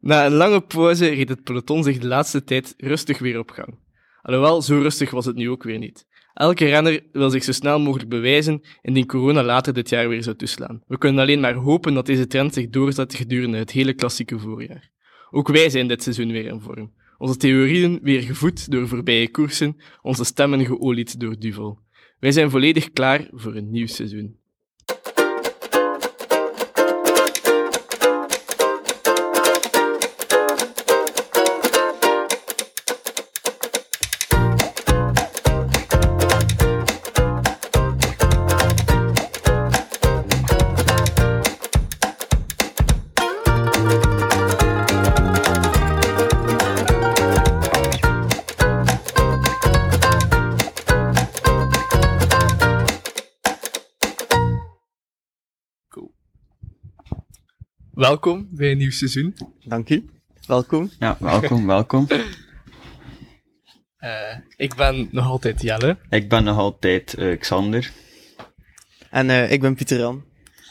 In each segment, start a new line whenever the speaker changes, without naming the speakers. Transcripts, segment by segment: Na een lange pauze reed het peloton zich de laatste tijd rustig weer op gang. Alhoewel, zo rustig was het nu ook weer niet. Elke renner wil zich zo snel mogelijk bewijzen indien corona later dit jaar weer zou toeslaan. We kunnen alleen maar hopen dat deze trend zich doorzet gedurende het hele klassieke voorjaar. Ook wij zijn dit seizoen weer in vorm. Onze theorieën weer gevoed door voorbije koersen, onze stemmen geolied door Duvel. Wij zijn volledig klaar voor een nieuw seizoen. Welkom bij een nieuw seizoen.
Dank u. Welkom.
Ja, welkom, welkom.
Eh, ik ben nog altijd Jelle.
Ik ben nog altijd eh, Xander.
En eh, ik ben Pieter Jan.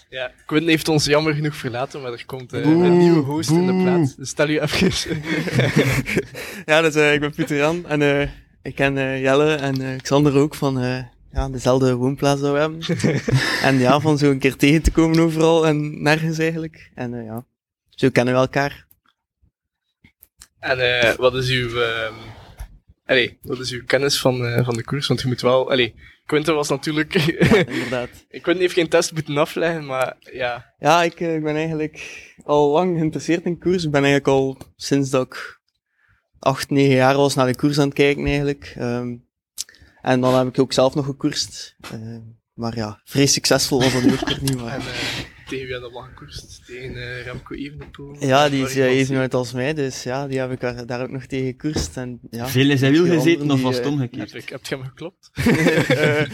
Ja, Quinn heeft ons jammer genoeg verlaten, maar er komt eh, een nieuwe host in de plaats. Dus stel u even.
Ja, dus eh, ik ben Pieter Jan. En eh, ik ken eh, Jelle en eh, Xander ook van eh, ja, dezelfde woonplaats dat we hebben. en ja, van zo een keer tegen te komen overal en nergens eigenlijk. En eh, ja, zo kennen we elkaar.
en eh, wat is uw... ehm, allee, wat is uw kennis van, eh, van de koers? Want je moet wel... Allee, Quinten was natuurlijk...
Inderdaad.
Quinten heeft geen test moeten afleggen, maar ja...
Ja, ik, eh, ik ben eigenlijk al lang geïnteresseerd in koers. Ik ben eigenlijk al sinds dat ik acht, negen jaar was naar de koers aan het kijken eigenlijk. Ehm, en dan heb ik ook zelf nog gekoerst. Ehm, maar ja, vrij succesvol was dat nu ook weer niet. Maar...
En eh, tegen wie had dat lang gekoerst? Tegen eh, Remco Evenepoel?
Ja, die is
Waar
eh,
ik was-
even uit als mij, dus ja, die heb ik daar, daar ook nog tegen gekoerst. En, ja.
Veel in zijn wiel
Die
gezeten
anderen
of
die,
was
eh,
het
Heb,
omgekeerd?
ik, heb je hem geklopt?
Eh, eh,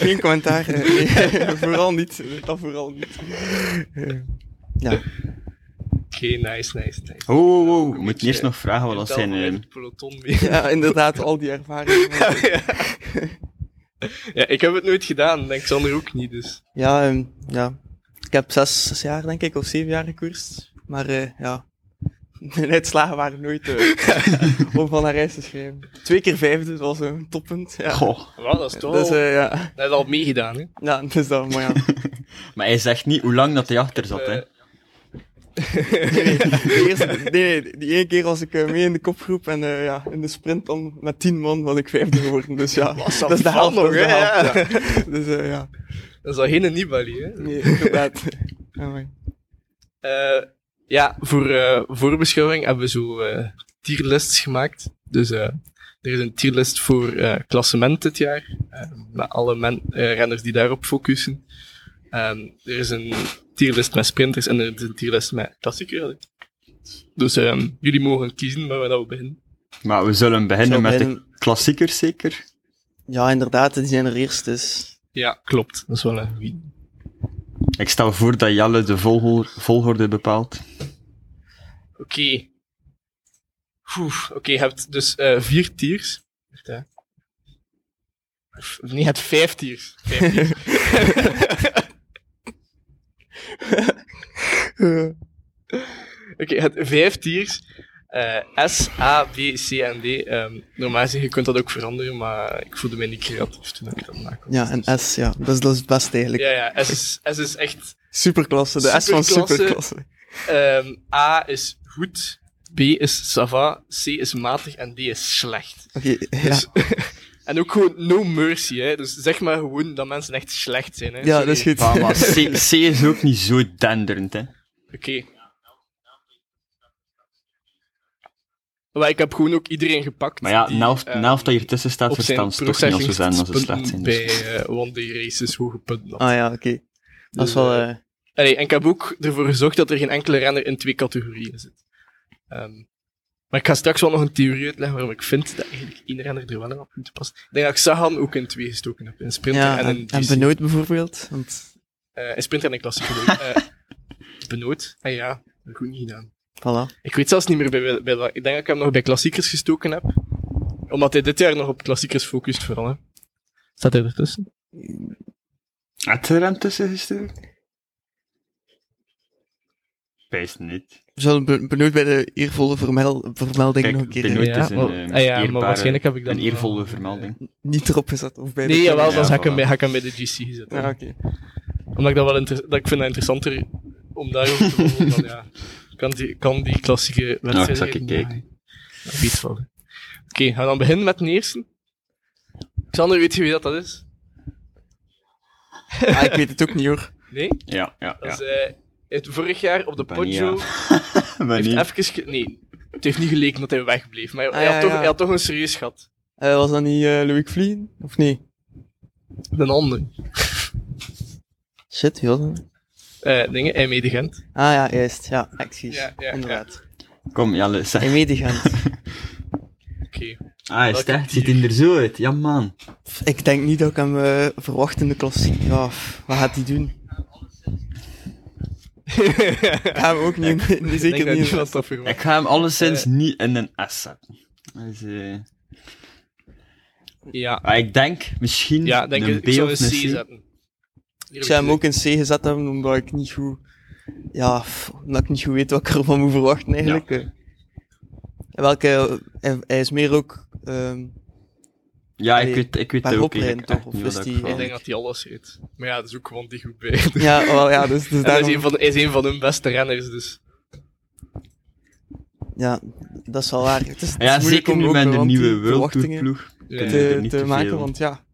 geen commentaar. Nee, vooral niet. Dat vooral niet. Eh, ja.
Oké, nice, nice, nice.
Oh, oh, oh.
Een
moet
beetje,
eerst nog vragen wat
Je
dat
telt
zijn.
maar
eh,
even het peloton mee.
ja, inderdaad, al die ervaringen.
ja, ik heb het nooit gedaan, en Xander ook niet, dus...
Ja, ehm, ja, ik heb zes, zes jaar, denk ik, of zeven jaar gekoerst. Maar eh, ja, mijn uitslagen waren nooit eh, om van naar reis te schrijven. Twee keer vijfde, dat was een toppunt. Ja.
Goh.
Wow, dat is toch...
Dus eh, ja,
Dat is al meegedaan, hè?
ja, dus dat, maar ja.
Maar hij zegt niet hoe lang dat hij achter zat, hè.
Eh,
Nee, de eerste, nee, nee, die ene keer was ik eh, mee in de kopgroep en eh, ja, in de sprint dan met tien man was ik vijfde geworden. Dus ja, dat is de
val
helft.
nog,
dat is de
hè?
helft, ja. Dus eh, ja,
Dat is al geen Nibali, hè?
nee, inderdaad. Amai.
Eh, ja, voor eh, voorbeschouwing hebben we zo eh, tierlists gemaakt. Dus eh, er is een tierlist voor eh, klassement dit jaar. eh, met alle men- eh, renners die daarop focussen. Ehm, er is een tierlist met sprinters en er is een tierlist met klassiekers. Dus ehm, jullie mogen kiezen waar we dat we beginnen.
Maar we zullen beginnen
Zal
met de
beginnen.
klassiekers, zeker?
Ja, inderdaad, die zijn er eerst, dus
Ja, klopt. Dat is wel een goeie.
Ik stel voor dat Jelle de volgor- volgorde bepaalt.
Oké. Oeh, Oké, je hebt dus eh, vier tiers. Wacht, hè. F- Nee, je hebt vijf tiers. Vijf tiers. Oké, je hebt vijf tiers. Eh, S, A, B, C en D. Ehm, normaal gezien, je kunt dat ook veranderen, maar ik voelde mij niet creatief toen ik dat maakte.
ja, en S, ja, dat is, dat is het beste eigenlijk.
Ja, ja, S is, S is echt...
Superklasse, de S van
Superklasse.
superklasse.
ehm, A is goed, B is sava, C is matig en D is slecht.
Oké, ja.
Dus- en ook gewoon no mercy, hè. Dus zeg maar gewoon dat mensen echt slecht zijn, hè.
ja,
Sorry.
dat is goed.
Maar, maar C, C is ook niet zo denderend, hè.
Oké. Maar ik heb gewoon ook iedereen gepakt.
Maar ja,
die,
Nelft,
ehm,
Nelft dat hier tussen staat,
op zijn
verstaan ze toch niet als ze zijn, als ze slecht zijn.
bij
Dus.
eh One Day Races hoge punten had.
Ah ja, oké. Dat is
Dus,
wel...
eh,
eh,
Allee, en ik heb ook ervoor gezorgd dat er geen enkele renner in twee categorieën zit. Ehm, maar ik ga straks wel nog een theorie uitleggen waarom ik vind dat eigenlijk één renner er wel aan op moet passen. Ik denk dat ik Sagan ook in twee gestoken heb. In sprinter
ja,
en in
en, en
DC.
benoemd bijvoorbeeld, want...
Eh, in sprinter en in klassieker. bedoel ik. Eh, benoemd. Ah ja, dat heb ik goed niet gedaan.
Voilà.
Ik weet zelfs niet meer bij, bij, bij wat- Ik denk dat ik hem nog bij klassiekers gestoken heb. Omdat hij dit jaar nog op klassiekers focust vooral. Hè. Staat hij ertussen?
dus- Had er hem tussen gestuurd? Pijs niet.
zullen be- benieuwd bij de eervolle vermel- vermelding
Kijk,
nog een keer
benoemd.
eh,
het is een,
wel-
eh,
ah, ja, maar
eerbare-
waarschijnlijk heb ik dan...
Een eervolle vermelding.
eh, niet erop gezet. Of bij
Nee,
de
jawel,
Ja,
dan
Ja,
ga ik hem
voilà.
bij- ga ik hem bij de GC zetten.
oké.
Omdat ik dat wel inter- dat ik vind dat interessanter om daarover te volgen dan, ja. Kan die, kan die klassieke wedstrijd
zal ik kijken.
Oké, gaan we dan beginnen met de eerste. Xander, weet je wie dat, dat is?
Ah, ik weet het ook niet hoor.
Nee?
Ja, ja,
Dat
ja.
is, eh, het vorig jaar op de
Bania.
Poggio
Maar
heeft
niet.
even... ge- nee, het heeft niet geleken dat hij wegbleef, maar hij,
Ah,
had
ja,
toch,
ja.
hij had toch een serieus gat.
Eh, was dat niet eh Louis Vlien? Of nee?
De ander.
Shit, wie was dat?
eh dingen, hij mede Gent.
Ah ja, juist. Ja, excuus.
Ja, ja,
Inderdaad.
Kom, Jelle, zeg.
En Medegent.
Oké.
Ah, is
Welke
het echt?
dier?
Ziet hij er zo uit? Ja, man.
Pff, ik denk niet dat ik hem eh, verwacht in de klassiek. Ja, pff, wat gaat hij doen? Ik ga hem ook niet, in-
Ik denk
zeker
dat
niet. in-
niemand dat verwacht.
Ik ga hem alleszins
Eh.
niet in een S zetten. Dus, eh,
Ja,
ah, ik denk misschien
ja denk
een
ik,
B
ik zou een
of
C
een C.
zetten.
Ik zou hem ook in C gezet hebben, omdat ik niet goed... Ja, pff, omdat ik niet goed weet wat ik ervan moet verwachten eigenlijk. eh. En Welke, hij, hij is meer ook... ehm,
Ja, ik
Nee,
weet, ik weet
maar
het ook
opleiding
eigenlijk echt
toch,
niet
of is
wat
die-
ik
Ik
van-
denk dat hij alles heet. Maar ja, dat is ook gewoon die goed bij. En
ja, wel, ja, dus, dus
Hij is,
daarom...
een van, hij is een van hun beste renners, dus.
Ja, dat is wel waar. Het is, het
Ja,
is moeilijk
zeker
om
nu
ook
met de
rond die
nieuwe World Tour
verwachtingen
ploeg.
Ja.
Kunnen we er
te,
niet
te
te
maken,
veel-
want ja...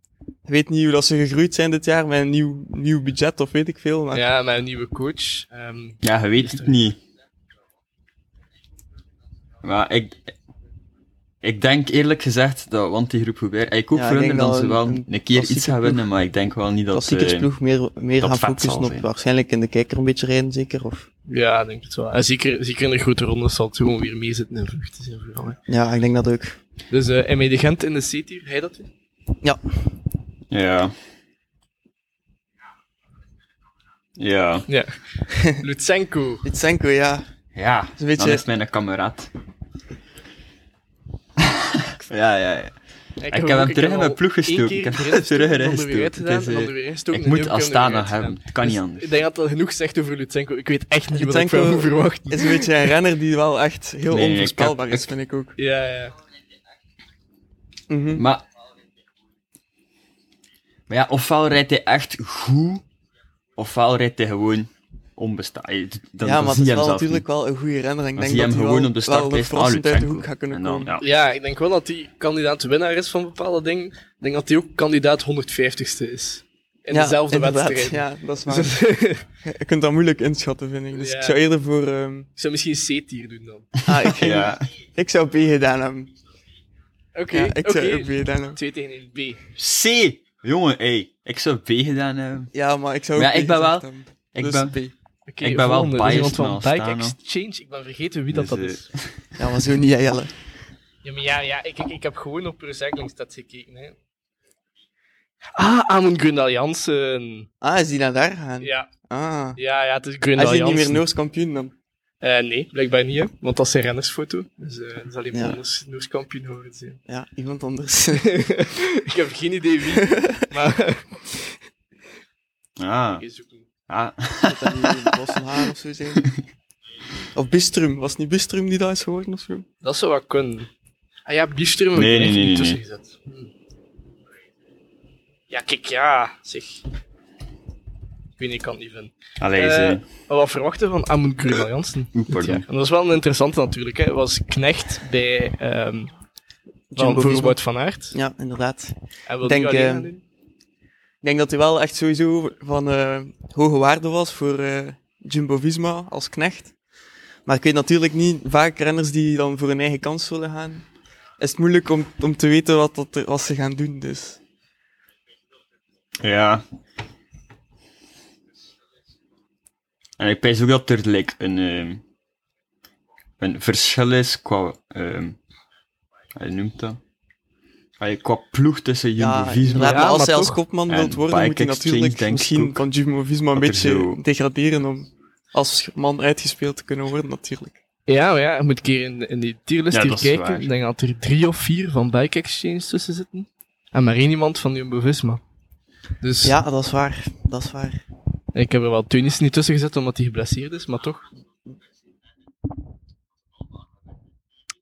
Je weet niet hoe dat ze gegroeid zijn dit jaar met een nieuw, nieuw budget of weet ik veel,
Ah.
maar...
Ja, met een nieuwe coach. ehm,
Ja, je weet het niet. Maar ik, ik denk eerlijk gezegd dat want die groep Hubert. Ik hoop
Ja,
ja,
ik
voor hun
denk
dat
wel
ze wel
een-
een,
een
keer iets
klassieke
gaan
ploeg.
winnen, maar ik denk wel niet dat eh,
Klassiekers
ze.
ploeg meer, meer
dat
gaan
vet zal
focussen op
zijn.
waarschijnlijk in de kijker een beetje rijden, zeker? Of,
ja, ik denk het wel. En zeker, zeker in de grote ronde zal het gewoon weer mee zitten in vluchten zijn vooral. hè.
ja, ik denk dat ook.
Dus eh en met de Gent in de C-tier, hij dat weer?
Ja. Ja.
Ja. Lutsenko.
Litsenko, ja.
Ja,
een beetje-
dan is mijn kameraad. ja, ja, ja.
Ik,
heb hem terug in mijn ploeg gestoken.
Ik
Ik heb
heb
hem
hem
terug
terug
erin gestoken. Het
uitgedaan,
is,
en
eh,
dan er weer ingestoken.
ik
en
moet
nu heb hem er
Astana
weer uitgedaan.
hebben. Het kan niet
Dus
anders.
Ik denk dat dat genoeg zegt over Lutsenko. Ik weet echt niet wat ik
Lutsenko-
van hem verwacht.
Is een beetje een renner die wel echt heel
Nee, ik
onvoorspelbaar
heb-
is, vind ik ook.
Ja, ja.
Mhm.
Maar, maar ja, ofwel rijdt hij echt goed, ofwel rijdt hij gewoon onbestaan. Je- Dan,
ja, maar
dan zie
het
je
is
hem
wel
zelf
natuurlijk wel een goede renner. Ik
Dan
denk
zie je
dat
hem
hij
gewoon
wel,
op de
wel
startlijst aan
verrassend uit de hoek
Lutsenko.
gaat kunnen
En dan,
komen.
ja.
Ja, ik denk wel dat hij kandidaat winnaar is van bepaalde dingen. Ik denk dat hij ook kandidaat 150ste is. In
Ja,
dezelfde
inderdaad.
wedstrijd.
Ja, dat is waar.
Dus dat-
Je kunt dat moeilijk inschatten, vind ik. Dus
Ja.
ik zou eerder voor... ehm,
ik zou misschien C-tier doen dan.
Ah, ik, ging-
Ja,
ik zou B gedaan hebben.
Oké,
Ja, ik
oké.
zou ook B gedaan hebben.
2 tegen 1 B.
C! Jongen, ey, ik zou B gedaan hebben.
Ja, maar ik zou ook
Maar ja,
B
ik ben
gezegd
wel-
hebben.
Ik
Dus
ben...
B.
Oké,
Ik ben wel
volgende. Dat is
biased
iemand van
naar
Bike
Astana.
Exchange. Ik ben vergeten wie dat,
Dus,
dat
eh,
is.
Ja, maar zo niet, hè, Jelle.
Ja, maar ja, ja ik, ik, ik heb gewoon op recyclingstat gekeken. Hè. Ah, Amon Grunal Jansen.
Ah, is die naar daar gaan?
Ja,
Ah.
ja, ja, het is
Hij
Grunal
is niet
Jansen.
meer Noors kampioen dan.
Eh, nee, blijkbaar niet, hè, want dat is zijn rennersfoto. Dus eh, dat zal iemand
Ja.
anders Noors kampioen horen zijn.
Ja, iemand anders.
ik heb geen idee wie. Maar
Ah,
Oké, zoek hem.
ah.
Moet dat niet Bossenhaar of zo zijn? Of Bistrum. Was het niet Bistrum die daar is geworden of zo?
dat zou wel kunnen. Ah ja, Bistrum heb
Nee,
ik er
nee,
echt niet
nee, nee.
tussen gezet. Hm. Ja, kijk, ja, zeg. Ik weet niet, ik kan het niet vinden.
Allee,
Eh,
ze...
Maar wat verwachten we van Amund Grunel Jansen?
Oeh,
Ja,
pardon.
en dat is wel een interessante natuurlijk. Hè. Was knecht bij ehm
Jumbo
van, voor
Visma.
Wout van Aert.
Ja, inderdaad.
En wil
Denk,
die alleen
eh,
gaan doen?
Ik denk dat hij wel echt sowieso van eh, hoge waarde was voor eh, Jumbo Visma als knecht. Maar ik weet natuurlijk niet, vaak renners die dan voor hun eigen kans zullen gaan, is het moeilijk om, om te weten wat, dat er, wat ze gaan doen. Dus
Ja. En ik pijs ook dat er like, een, ehm, een verschil is qua. ehm hij noemt dat. Allee, qua ploeg tussen Jumbo
ja,
Visma.
inderdaad,
Ja,
maar als
maar
hij als
toch.
kopman
En
wilt worden, moet
Bike
hij
Exchange
natuurlijk
denk ik
misschien
ook
van Jumbo Visma een
dat er
beetje
zo-
degraderen om als man uitgespeeld te kunnen worden natuurlijk.
Ja, maar ja, je moet een keer in, in die tierlist
Ja,
hier
dat is
kijken.
waar.
Ik denk dat er drie of vier van Bike Exchange tussen zitten. En maar één iemand van Jumbo-Visma. Dus
Ja, dat is waar. Dat is waar.
ik heb er wel Tunis niet tussen gezet, omdat hij geblesseerd is, maar toch.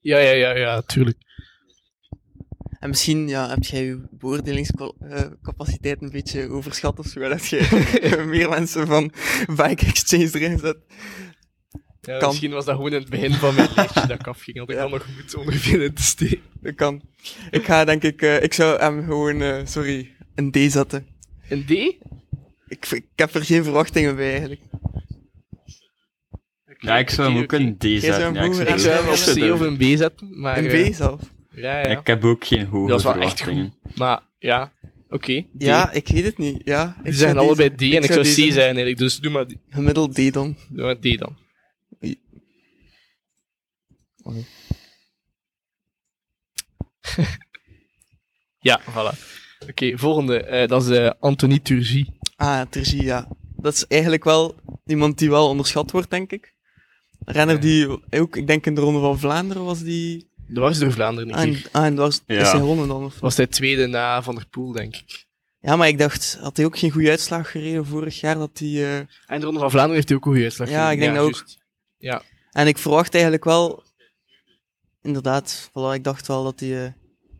Ja, ja, ja, ja, tuurlijk.
En misschien ja, heb jij je beoordelingscapaciteit een beetje overschat of zo. Dat je meer mensen van Bike Exchange erin zet.
Ja,
Kan.
Misschien was dat gewoon in het begin van mijn lijstje dat ik afging. Had ik
Ja.
dan nog goed ongeveer in te steken.
Dat kan. Ik ga denk ik, eh, ik zou hem gewoon, eh, sorry, een D zetten.
Een D?
Ik, ik heb er geen verwachtingen bij eigenlijk.
Ja, ik zou hem
Oké,
ook
oké.
een D
zou
zetten.
hem
Ja, ik
hoger
Ik zou hem op C of een B zetten, maar... eh,
een B zelf.
Ja, ja.
Ik heb ook geen hoge
Dat is wel echt
verwachtingen.
Maar, ja, oké. D.
Ja, ik weet het niet. Ja, ik
Die
zou
zijn allebei D en
deze-
ik zou C
deze-
zijn eigenlijk, dus doe maar, die-
Gemiddeld D dan.
doe maar D dan. Ja, voilà. Oké, volgende. eh, dat is eh, Anthony Turgie.
Ah, Tergie, ja. Dat is eigenlijk wel iemand die wel onderschat wordt, denk ik. Een Renner die ook, ik denk in de Ronde van Vlaanderen was die...
Dat was door Vlaanderen een
Ah, en,
keer.
ah, en was,
Ja.
is hij gewonnen dan? Of...
Was hij tweede na Van der Poel, denk ik.
Ja, maar ik dacht, had hij ook geen goede uitslag gereden vorig jaar? Dat hij, eh,
En de Ronde van Vlaanderen heeft hij ook een goede uitslag.
Ja,
gegeven.
ik denk dat ook.
juist.
En ik verwacht eigenlijk wel... Inderdaad, voilà, ik dacht wel dat hij... eh,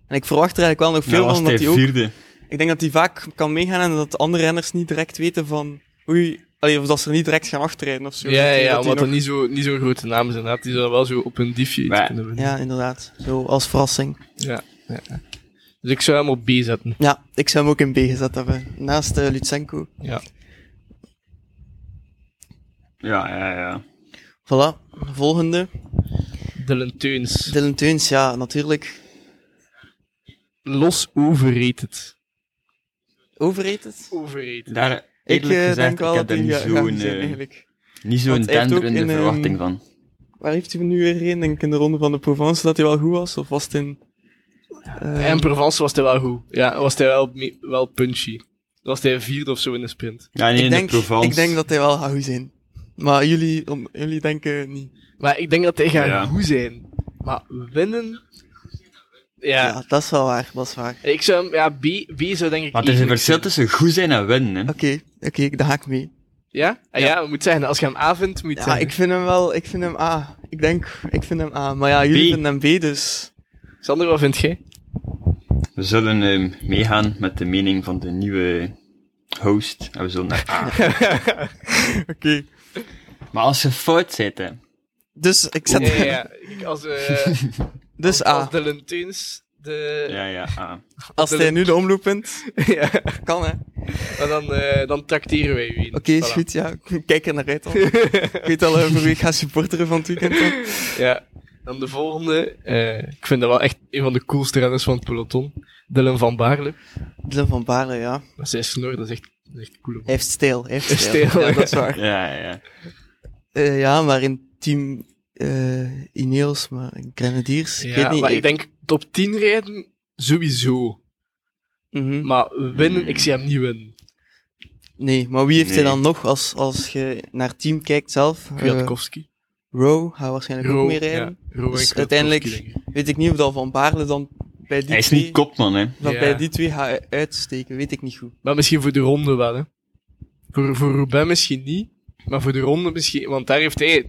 En ik verwacht er eigenlijk wel nog
Nou
veel
was
van, omdat
hij
hij ook...
vierde.
Ik denk dat hij vaak kan meegaan en dat andere renners niet direct weten van... Oei, allee, of dat ze er niet direct gaan achterrijden of zo.
Ja, ja,
Dat hij
ja, omdat
nog-
dat niet zo'n niet zo grote naam is inderdaad. Die zouden wel zo op een diefje iets
Maar-
kunnen winnen.
Ja, inderdaad. Zo, als verrassing.
Ja, ja, ja. Dus ik zou hem op B zetten.
Ja, ik zou hem ook in B gezet hebben. Naast eh, Lutsenko.
Ja.
Ja, ja, ja.
Voilà. Volgende.
Dylan Teuns.
Dylan Teuns, ja, natuurlijk.
Los overrated.
Overrated.
Overrated.
Daar,
Ik
eerlijk
eh,
gezegd,
denk wel dat
ik heb daar
hij
niet
ga- gaat
zo'n,
zijn,
eh,
eigenlijk.
niet zo'n
Want hij heeft ook
denderende
in, ehm,
verwachting van.
Waar heeft hij nu weer heen? Denk ik in de Ronde van de Provence dat hij wel goed was? Of was het in... eh,
En Provence was hij wel goed. Ja, was hij wel, me- wel punchy. Was hij vierde of zo in de sprint.
Ja, nee,
ik,
in
denk,
de Provence.
ik denk dat hij wel gaat goed zijn. Maar jullie, om- jullie denken niet.
Maar ik denk dat hij gaat
Ja.
goed zijn. Maar winnen...
Ja.
Ja.
dat is wel waar. Dat is waar.
Ik zou hem... Ja, B, B zou denk ik...
Maar het is
eigenlijk
een verschil
zijn.
tussen goed zijn en winnen. Hè.
Oké, oké, ik daar haak ik mee.
Ja? Ah, ja, moet zijn. Als je hem A vindt, moet je het
Ja,
zeggen.
ik vind hem wel... Ik vind hem A. Ik denk, ik vind hem A. Maar ja, jullie
B.
vinden hem B, dus...
Sander, wat vind jij?
We zullen ehm, meegaan met de mening van de nieuwe host. En we zullen naar A.
Oké.
maar als je fout zit, hè.
Dus ik zet...
Ja, ja, ja. Ik- Als, eh,
Dus
als
A.
Dylan Teuns de...
Ja, ah. ja, A.
Als
de-
hij nu de omloop wint,
Ja.
kan hè. Oké,
Maar dan, eh, dan tracteren wij u. Oké,
is goed, ja. Ik Kijk er naar uit al. ik weet al eh, voor wie ik ga supporteren van het weekend. hè.
Ja. Dan de volgende. eh, ik vind dat wel echt een van de coolste renners van het peloton. Dylan van Baarle.
Dylan van Baarle, ja.
Maar zij snor, dat is echt, dat is echt cool.
Hij heeft stijl, hij heeft
Heeft
stijl.
stijl,
Ja, dat is waar.
Ja, ja, ja.
Eh, ja, maar in team eh Ineos, maar in Grenadiers, ik
Ja,
weet niet.
maar ik denk top 10 rijden, sowieso.
Mhm.
Maar winnen,
Hmm.
ik zie hem niet winnen.
Nee, maar wie heeft hij
Nee.
dan nog als, als je naar het team kijkt zelf? Eh
Kwiatkowski.
Rowe gaat waarschijnlijk ook mee rijden.
ja, Rowe en
Dus
Kwiatkowski,
uiteindelijk-
denk ik.
Weet ik niet of dat Van Baarle dan bij die
Hij is
twee...
niet kopman, hè.
dat
Ja.
bij die twee gaat uitsteken, weet ik niet goed.
Maar misschien voor de ronde wel, hè. Voor, voor Roubaix misschien niet, maar voor de ronde misschien... Want daar heeft hij het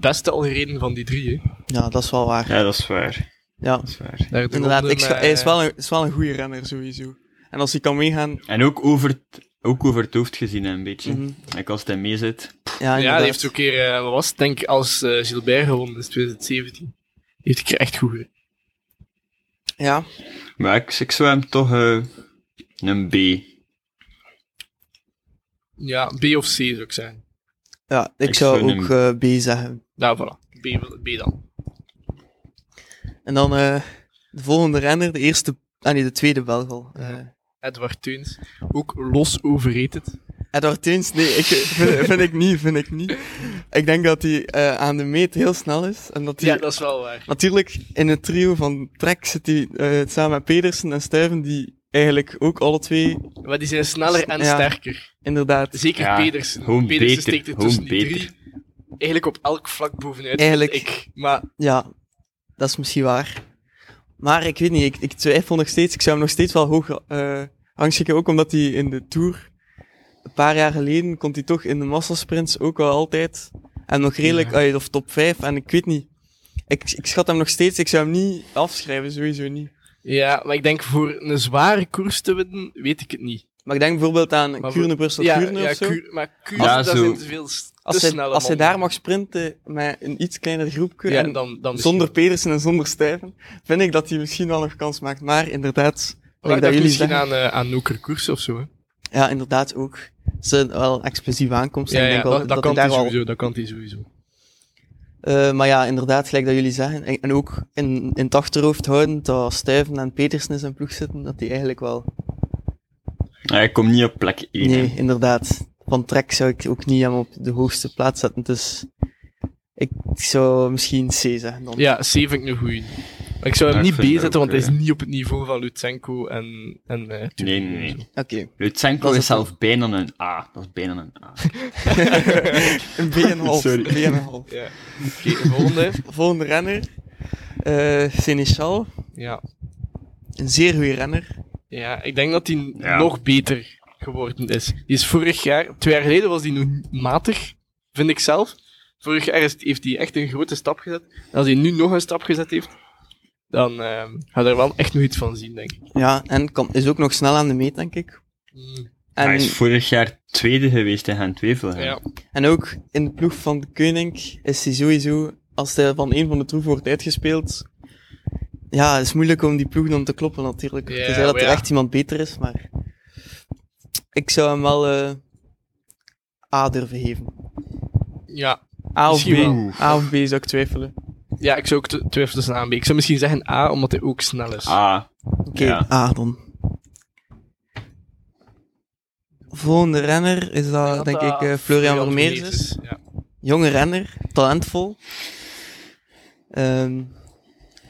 beste al gereden van die drie, hè.
Ja, dat is wel waar.
Ja, dat is waar.
Ja,
Dat is waar.
Daar de
inderdaad.
ronde
Ik scha-
met-
hij is wel, een, is wel een goede renner, sowieso. En als hij kan meegaan...
En ook over het, ook over het hoofd gezien, hè, een beetje.
mhm.
Kijk, als hij mee zit.
Ja,
Ja,
inderdaad.
die heeft ook een keer, eh, wat was het, denk ik, als eh, Gilbert gewonnen is, 2017. Die heeft een keer echt goed gereden.
Ja,
Maar ik, ik zou hem toch eh, een B.
Ja, B of C zou ik zeggen.
ja ik,
Ik
zou
gun
ook eh, B zeggen.
Nou, voilà. B, wil- B dan.
En dan eh, de volgende renner, de eerste... Ah nee, de tweede Belg al. Eh,
Edward Teuns. Ook los overrated.
Edward Teuns, nee, ik, vind, vind ik niet, vind ik niet. Ik denk dat hij eh, aan de meet heel snel is. En dat hij...
Ja, dat is wel waar.
Natuurlijk, in het trio van Trek zit hij eh, samen met Pedersen en Stuyven, die eigenlijk ook alle twee,
Maar die zijn sneller en
Ja.
sterker.
inderdaad,
Zeker
Ja,
Pedersen.
gewoon
Pedersen
beter,
steekt er
gewoon
tussen die
beter.
drie. Eigenlijk op elk vlak bovenuit.
Eigenlijk-
vind Ik. Maar
Ja, dat is misschien waar. Maar ik weet niet, ik, ik twijfel nog steeds. Ik zou hem nog steeds wel hoog eh rangschikken. Ook omdat hij in de Tour, een paar jaar geleden, komt hij toch in de massasprints ook wel altijd. En nog redelijk eh,
Ja.
uit of top 5. En ik weet niet, Ik, ik schat hem nog steeds, ik zou hem niet afschrijven, sowieso niet.
Ja, maar ik denk voor een zware koers te winnen, weet ik het niet.
Maar ik denk bijvoorbeeld aan
Maar
Kuurne, Brussel,
ja,
Kuurne
ja,
of zo.
Kuur- maar Kuurne,
Ja,
dat
zo.
zijn te veel s- te
als hij,
snelle
als hij
mannen.
daar mag sprinten met een iets kleiner groepje,
ja,
en
dan, dan
zonder
misschien
Pedersen en zonder Stijven, vind ik dat hij misschien wel nog kans maakt. Maar inderdaad,
wel.
like
Maar
dat jullie
misschien
zeggen, Dus
aan, eh aan Noker koers of zo. Hè.
ja, inderdaad ook. Het zijn wel explosieve aankomsten.
Ja,
ik
ja,
denk wel
dat, dat
hij
kan hij
daar wel
sowieso, dat kan hij sowieso.
Eh, maar ja, inderdaad, gelijk dat jullie zeggen. En en ook in, in het achterhoofd houden dat Stuyven en Petersen in zijn ploeg zitten, dat die eigenlijk wel...
Hij komt niet op plek 1.
Nee, inderdaad. Van Trek zou ik ook niet hem op de hoogste plaats zetten, dus... Ik zou misschien C zeggen dan.
Ja, C vind ik een goeie. Maar ik zou hem
Ja, ik
niet B
vind
zetten,
ook,
want hij is
eh,
niet op het niveau van Lutsenko en... en eh,
Nee, nee, nee.
Tuurlijk.
Oké.
Lutsenko
Dat
is,
is het
zelf bijna een A. Dat is bijna een A.
Een B en een half.
Sorry.
Een B en een half.
Ja. Oké, volgende.
Volgende renner. eh Seneschal.
Ja.
Een zeer goede renner.
ja, ik denk dat hij
Ja.
nog beter geworden is. Die is vorig jaar... Twee jaar geleden was hij nog matig, vind ik zelf. Vorig jaar is- heeft hij echt een grote stap gezet. En als hij nu nog een stap gezet heeft, dan ehm ga je er wel echt nog iets van zien, denk ik.
Ja, en kan, is ook nog snel aan de meet, denk ik.
Hij
Mm,
En,
is vorig jaar tweede geweest in Gent Wevelgem.
Ja.
en ook in de ploeg van de Koning is hij sowieso, als hij van een van de troeven wordt uitgespeeld. Ja, het is moeilijk om die ploeg dan te kloppen, natuurlijk.
Ja,
Tenzij dat
maar
er
ja.
echt iemand beter is, maar. Ik zou hem wel eh A durven geven.
ja.
A of B.
Misschien
wel.
A of B zou ik twijfelen.
Ja, ik zou ook tw- twijfelen tussen A en B. Ik zou misschien zeggen A, omdat hij ook snel
Ah,
is.
A.
Oké,
Ja.
A dan. Volgende renner is dat,
had
denk ik,
dat
eh, Florian Vermeers. is.
Vermeers, Ja.
Jonge renner, talentvol. Ehm,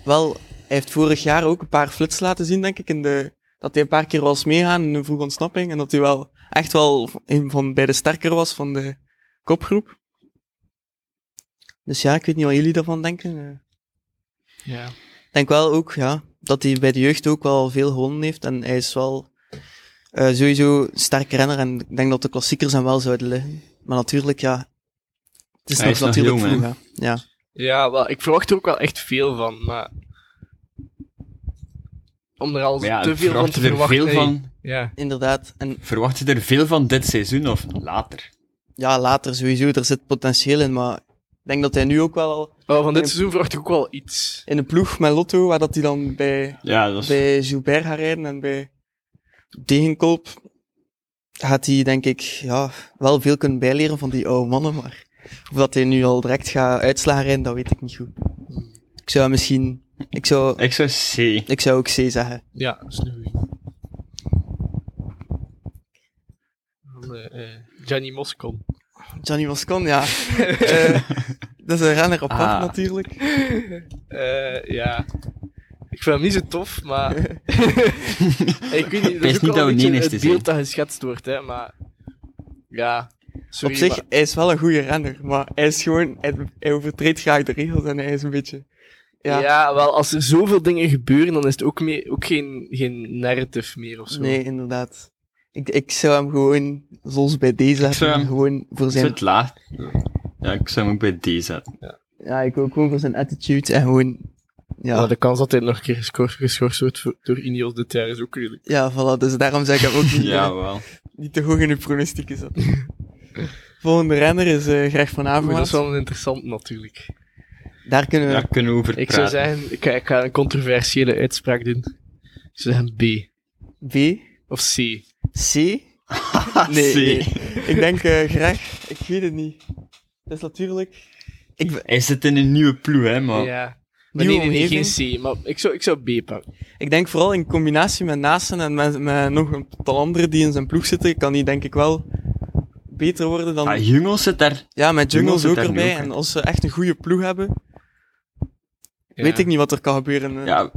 wel, hij heeft vorig jaar ook een paar flits laten zien, denk ik. In de, dat hij een paar keer was meegaan in een vroege ontsnapping. En dat hij wel echt wel een van bij de sterker was van de kopgroep. Dus ja, ik weet niet wat jullie daarvan denken. Eh,
Ja.
ik denk wel ook, ja, dat hij bij de jeugd ook wel veel gewonnen heeft. En hij is wel eh, sowieso een sterk renner. En ik denk dat de klassiekers hem wel zouden liggen. Maar natuurlijk, ja. Het is
Hij
nog
is nog
natuurlijk
jong,
vroeg, hè. Ja.
Ja, wel, ik verwacht er ook wel echt veel van, maar... Om er al
Maar ja,
te veel van
verwacht
te
je er
verwachten.
veel
hè.
van,
Ja.
Inderdaad. En
verwacht je er veel van dit seizoen of later?
ja, later sowieso, er zit potentieel in. Maar ik denk dat hij nu ook wel al
Wel, van dit
En-
seizoen verwacht ik ook wel iets.
in de ploeg met Lotto, waar dat hij dan bij,
Ja, dat is...
bij Joubert gaat rijden en bij Degenkolb, gaat hij denk ik ja, wel veel kunnen bijleren van die oude mannen. Maar of dat hij nu al direct gaat uitslagen rijden, dat weet ik niet goed. Ik zou misschien... Ik zou,
Ik zou C.
ik zou ook C zeggen.
Ja, dat is een goeie. Van, eh, eh, Gianni Moscon.
Johnny Moscon, ja. Eh, dat is een renner apart
Ah.
natuurlijk.
Eh, ja. Ik vind hem niet zo tof, maar... ik weet niet, dat
Wees
is ook wel
niet dat
een
we niet
beetje
eens
het
te
beeld
zien.
dat geschetst wordt, hè, maar... Ja, sorry,
Op zich,
maar-
hij is wel een goede renner, maar hij is gewoon, hij, hij overtreedt graag de regels en hij is een beetje. Ja,
Ja. wel, als er zoveel dingen gebeuren, dan is het ook, mee, ook geen, geen narrative meer of zo.
nee, inderdaad. Ik, ik zou hem gewoon, zoals bij deze,
Ik zou hem-
gewoon voor
Ik zou
zijn.
het laat... Ja, ik zou hem ook bij D zetten.
Ja, ik ook gewoon voor zijn attitude en gewoon.
Maar
Ja,
de kans dat hij nog een keer geschor- geschorst wordt voor- door Ineos dit jaar is ook redelijk.
ja, voilà, dus daarom zeg ik hem ook niet, eh,
Ja, wel.
niet te hoog in de pronostieken zetten. Volgende renner is eh Greg van
Maar dat
Avermaat.
is wel een interessant natuurlijk.
Daar kunnen we.
Daar kunnen we over
Ik zou
praten.
zeggen, ik, ga- ik ga een controversiële uitspraak doen. Ik zou zeggen B.
B,
Of C.
C. Nee,
C.
nee. Ik denk eh Greg, ik weet het niet. Dat is natuurlijk.
Hij zit in een nieuwe ploeg, hè, maar...
Ja. Maar
nieuwe
nee, nee, nee,
omgeving.
geen C. Maar ik zou, ik zou B pakken.
Ik denk vooral in combinatie met Nasen en met, met nog een tal anderen die in zijn ploeg zitten, kan die denk ik wel beter worden dan...
Ah, Jungels zit daar...
ja, met
Jungle
Jungles
zit
ook
daar nu
erbij.
ook in.
en als ze echt een goede ploeg hebben,
Ja.
weet ik niet wat er kan gebeuren. eh.
Ja,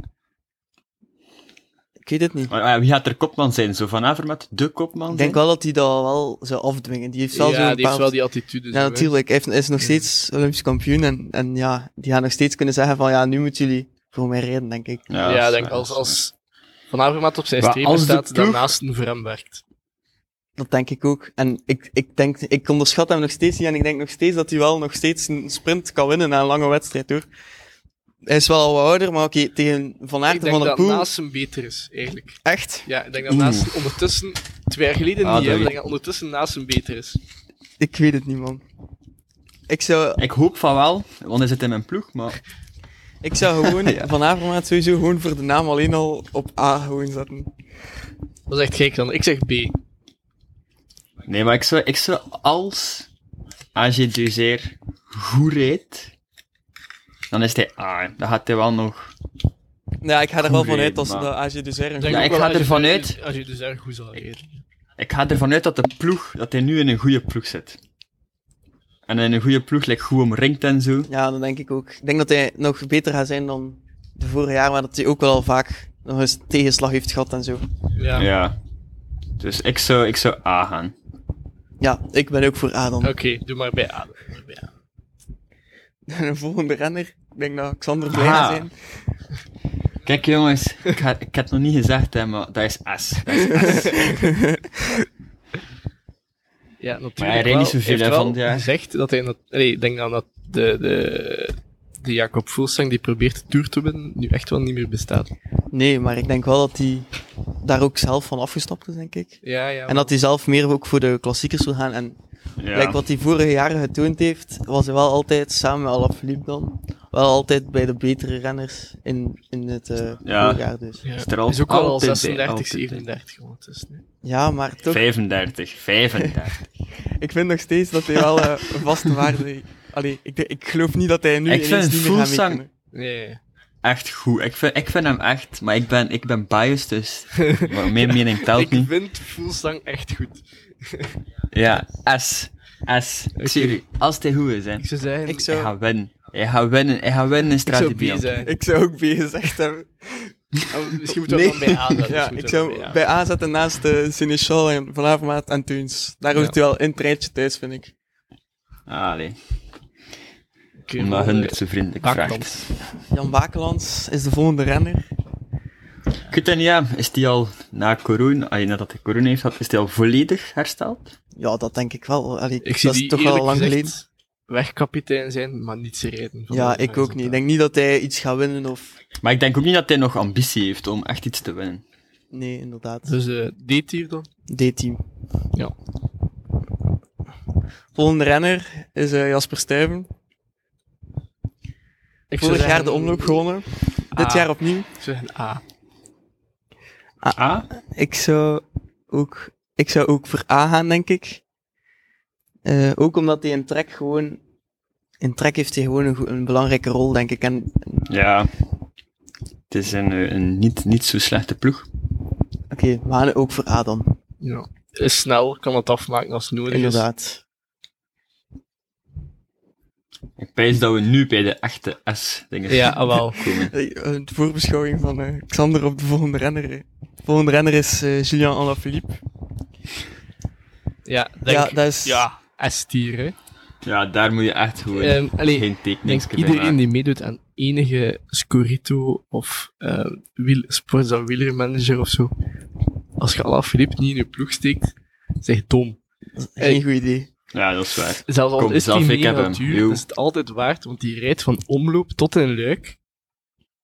Ik weet het niet.
maar, maar wie gaat er kopman zijn? Zo Van Avermaet, de kopman
Ik denk wel dat hij dat wel zou afdwingen. Die heeft
Ja,
zelfs
die
een
heeft
bepaald-
wel die attitude. zo,
Ja,
hè.
natuurlijk. Hij heeft- is nog steeds Olympisch kampioen. En, en ja, die gaan nog steeds kunnen zeggen van ja, nu moeten jullie voor mij rijden, denk ik.
Ja,
dat is
ik denk
waar,
als,
dat is
als Van Avermaat op zijn
Maar
strepen
als de
staat,
ploeg-
dan naast een voor hem werkt.
Dat denk ik ook. En ik, ik denk, ik onderschat hem nog steeds niet. En ik denk nog steeds dat hij wel nog steeds een sprint kan winnen na een lange wedstrijd hoor. Hij is wel al wat ouder, maar oké, tegen Van Aert
ik
en
denk
Van der
dat
Poel...
naast hem beter is, eigenlijk.
Echt?
Ja, ik denk dat
Oeh.
naast ondertussen... Twee jaar geleden
Ah,
niet, hè, maar ik
dat weet
denk dat ondertussen naast hem beter is.
Ik weet het niet, man. Ik zou,
Ik hoop van wel, want hij zit in mijn ploeg, maar...
ik zou gewoon
Ja.
Van Avermaat sowieso gewoon voor de naam alleen al op A gewoon zetten.
Dat is echt gek dan. Ik zeg B.
Nee, maar ik zou, ik zou als AG Duzeer goed rijdt, dan is hij A. Dan gaat hij wel nog...
Ja, ik ga er wel
Goeie,
vanuit als
maar-
dat AG dus
Ik,
ergens...
denk
Ja,
ook
ik
wel
ga
als je-
ervan uit-
Als je dus erg goed zal reden.
Ik ga ervan uit dat de ploeg, dat hij nu in een goede ploeg zit. En in een goede ploeg, like, goed omringd en zo.
Ja, dat denk ik ook. Ik denk dat hij nog beter gaat zijn dan de vorige jaar, maar dat hij ook wel al vaak nog eens tegenslag heeft gehad en zo.
Ja.
Ja. Dus ik zou, ik zou A gaan.
Ja, ik ben ook voor A dan.
Oké, doe maar bij A. Doe maar bij A.
En een volgende renner, ik denk dat Xander blij gaat
Ah.
zijn.
Kijk jongens, ik, ga, ik heb het nog niet gezegd, hè, maar dat is S. Dat is
Ja, natuurlijk.
Maar hij reed niet zoveel, hè, van het jaar.
Hij zegt dat hij... nat- nee, ik denk dan dat de, de, de Jacob Fulsang die probeert de Tour te winnen, nu echt wel niet meer bestaat.
Nee, maar ik denk wel dat hij daar ook zelf van afgestapt is, denk ik.
Ja, ja.
En dat hij zelf meer ook voor de klassiekers wil gaan. En
ja.
gelijk wat hij vorige jaren getoond heeft, was hij wel altijd samen met Alaphilippe dan. Wel altijd bij de betere renners in, in het eh
Ja.
voorjaar dus.
Ja.
Is er al-
is ook al,
altijd bij,
36,
altijd bij.
37 ondertussen. hè.
Ja, maar toch,
35, 35.
ik vind nog steeds dat hij wel eh, een vaste waarde... Allee, ik, denk- ik geloof niet dat hij nu
Ik
ineens
vind
niet meer gaat
Fuglsang-
meekomen.
Nee, ja.
echt goed. Ik vind, ik vind hem echt, maar ik ben, ik ben biased, dus maar mijn mening telt
Ik
niet.
vind Fulsang echt goed.
Ja, S. S. Ik zie jullie. Als hij goed is, hè.
Ik zou zeggen...
Ik
Hij
zou,
gaat winnen. Hij gaat winnen. Hij gaat winnen in
ik zou B
strategie.
zijn.
ik zou ook B gezegd hebben.
Ah, misschien moeten we
Nee.
dan bij A zetten.
Ja,
Misschien
ik
moeten we dan
zou
bij
bij A zetten naast de Sinichal en Van Avermaat en Tunes. Daar hoort
Ja.
hij wel in het rijtje thuis, vind ik.
Allee,
A. Oké,
omdat
volgende.
hun het zo vriendelijk
Bakland.
vraagt.
Jan Bakelands is de volgende renner.
Ik weet het niet, ja. Is die al na corona, allee, nadat hij corona heeft gehad, is die al volledig hersteld?
Ja, dat denk ik wel. Allee,
Ik zie
dat is
die
toch wel
eerlijk
lang
gezegd
geleden.
Wegkapitein zijn, maar niet ze rijden. Van
Ja,
de
ik ook niet. Ik
resultaten.
denk niet dat hij iets gaat winnen of...
Maar ik denk ook niet dat hij nog ambitie heeft om echt iets te winnen.
Nee, inderdaad.
Dus eh D-tier dan?
D-team.
Ja.
Volgende renner is eh, Jasper Stuyven.
Ik zou
Vorig jaar
zeggen-
de omloop gewonnen. Dit
Ah.
jaar opnieuw.
Ik zou zeggen ah, A. Ah?
A?
Ik zou ook, ik zou ook voor A gaan, denk ik. Eh, ook omdat hij in trek gewoon... In trek heeft hij gewoon een, goe- een belangrijke rol, denk ik. En
Ja. Het is een, eh, een niet, niet zo slechte ploeg.
oké, we gaan ook voor A dan.
Ja. Is snel, kan het afmaken als het nodig is.
Inderdaad.
Ik pijs dat we nu bij de echte S-dingen
Ja, ah, wel.
komen.
Eh, eh, De voorbeschouwing van eh, Xander op de volgende renner. eh. De volgende renner is eh, Julien Alaphilippe.
Ja, denk,
Ja,
ja,
dat is...
S-tier, hè.
Ja, daar moet je echt gewoon
Ehm, allee,
geen
Ik denk
tekening
iedereen die meedoet aan enige Scorito of eh wiel, sports- en wielermanager of zo. Als je Alaphilippe niet in je ploeg steekt, zeg dom.
Geen goed idee.
Ja, dat is waar.
Zelfs al
Kom,
is die
zelf, ik
niet
heb hem.
natuur,
Joe.
is het altijd waard, want die rijdt van omloop tot in luik.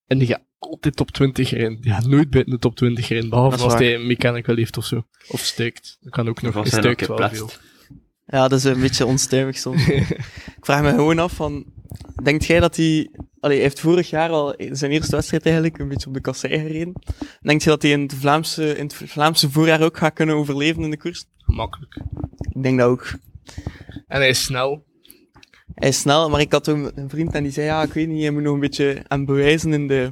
En die gaat altijd top 20 erin. Die gaat nooit buiten de top 20 erin, behalve
Dat is
als
waar.
hij een mechanical heeft of zo. Of stuikt. Dat kan ook nog. Hij
Vast zijn ook
stuikt wel veel.
geplaatst.
Ja, dat is een beetje onstuimig soms. ik vraag me gewoon af van... Denkt jij dat hij... Allee, hij heeft vorig jaar al zijn eerste wedstrijd eigenlijk een beetje op de kassei gereden. Denkt je dat hij in het Vlaamse, in het Vlaamse voorjaar ook gaat kunnen overleven in de koers?
Gemakkelijk.
Ik denk dat ook.
En hij is snel.
Hij is snel, maar ik had toen een vriend en die zei, ja, ik weet niet, je moet nog een beetje aan bewijzen in de,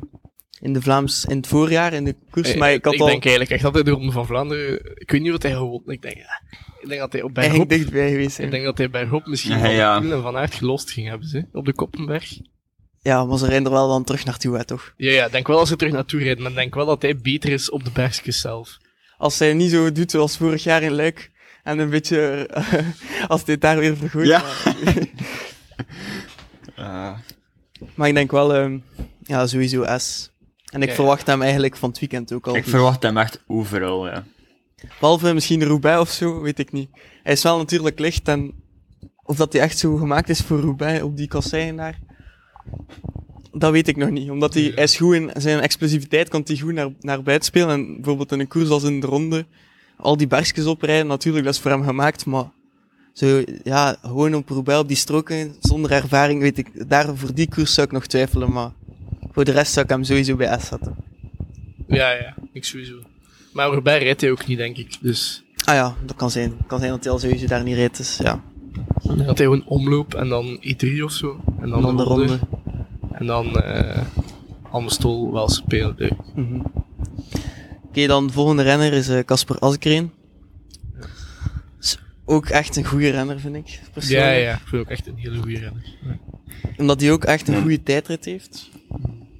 in de Vlaams, in het voorjaar, in de koers. Dus, maar Eh, ik had al
denk eigenlijk echt dat hij de Ronde van Vlaanderen... Ik weet niet wat hij gewonnen ik denk, ja. ik denk dat hij op
eigenlijk
bergop...
dichtbij geweest.
Ik
zijn.
denk dat hij bergop misschien
Ja,
van
ja.
Poel en Van Aert gelost ging hebben, ze, op de Koppenberg.
Ja, maar ze rijden er wel dan terug naartoe, hè, toch?
Ja, ja, denk wel als hij terug naartoe rijdt, maar denk wel dat hij beter is op de bergjes zelf.
Als hij niet zo doet zoals vorig jaar in Luik. En een beetje, eh, als dit daar weer vergoedt.
Ja.
Maar,
Ah,
maar ik denk wel, ehm, ja, sowieso S. En ik
Ja, ja.
verwacht hem eigenlijk van het weekend ook al.
ik
goed.
verwacht hem echt overal, ja.
Behalve misschien Roubaix of zo, weet ik niet. Hij is wel natuurlijk licht en of dat hij echt zo gemaakt is voor Roubaix op die kasseien daar. Dat weet ik nog niet. Omdat hij, hij is goed in zijn explosiviteit, kan hij goed naar, naar buiten spelen. En bijvoorbeeld in een koers als in de ronde, al die bergjes oprijden, natuurlijk, dat is voor hem gemaakt. Maar zo, ja, gewoon op Roubaix op die stroken, zonder ervaring, weet ik, daar voor die koers zou ik nog twijfelen. Maar voor de rest zou ik hem sowieso bij S zetten.
Ja, ja, ik sowieso. Maar voorbij rijdt hij ook niet, denk ik. Dus
Ah ja, dat kan zijn. kan zijn dat hij al sowieso daar niet rijdt. Dus ja,
dan had hij gewoon omloop en dan E3 of zo. En dan,
een andere ronde.
En dan eh Amstel wel spelen. Nee.
Mhm. Oké, dan de volgende renner is eh, Casper Askreen. Is ook echt een goede renner, vind ik.
Ja,
Persoonlijk.
ja, ik vind hem ook echt een hele goede renner.
Omdat hij ook echt een
Ja.
goede tijdrit heeft.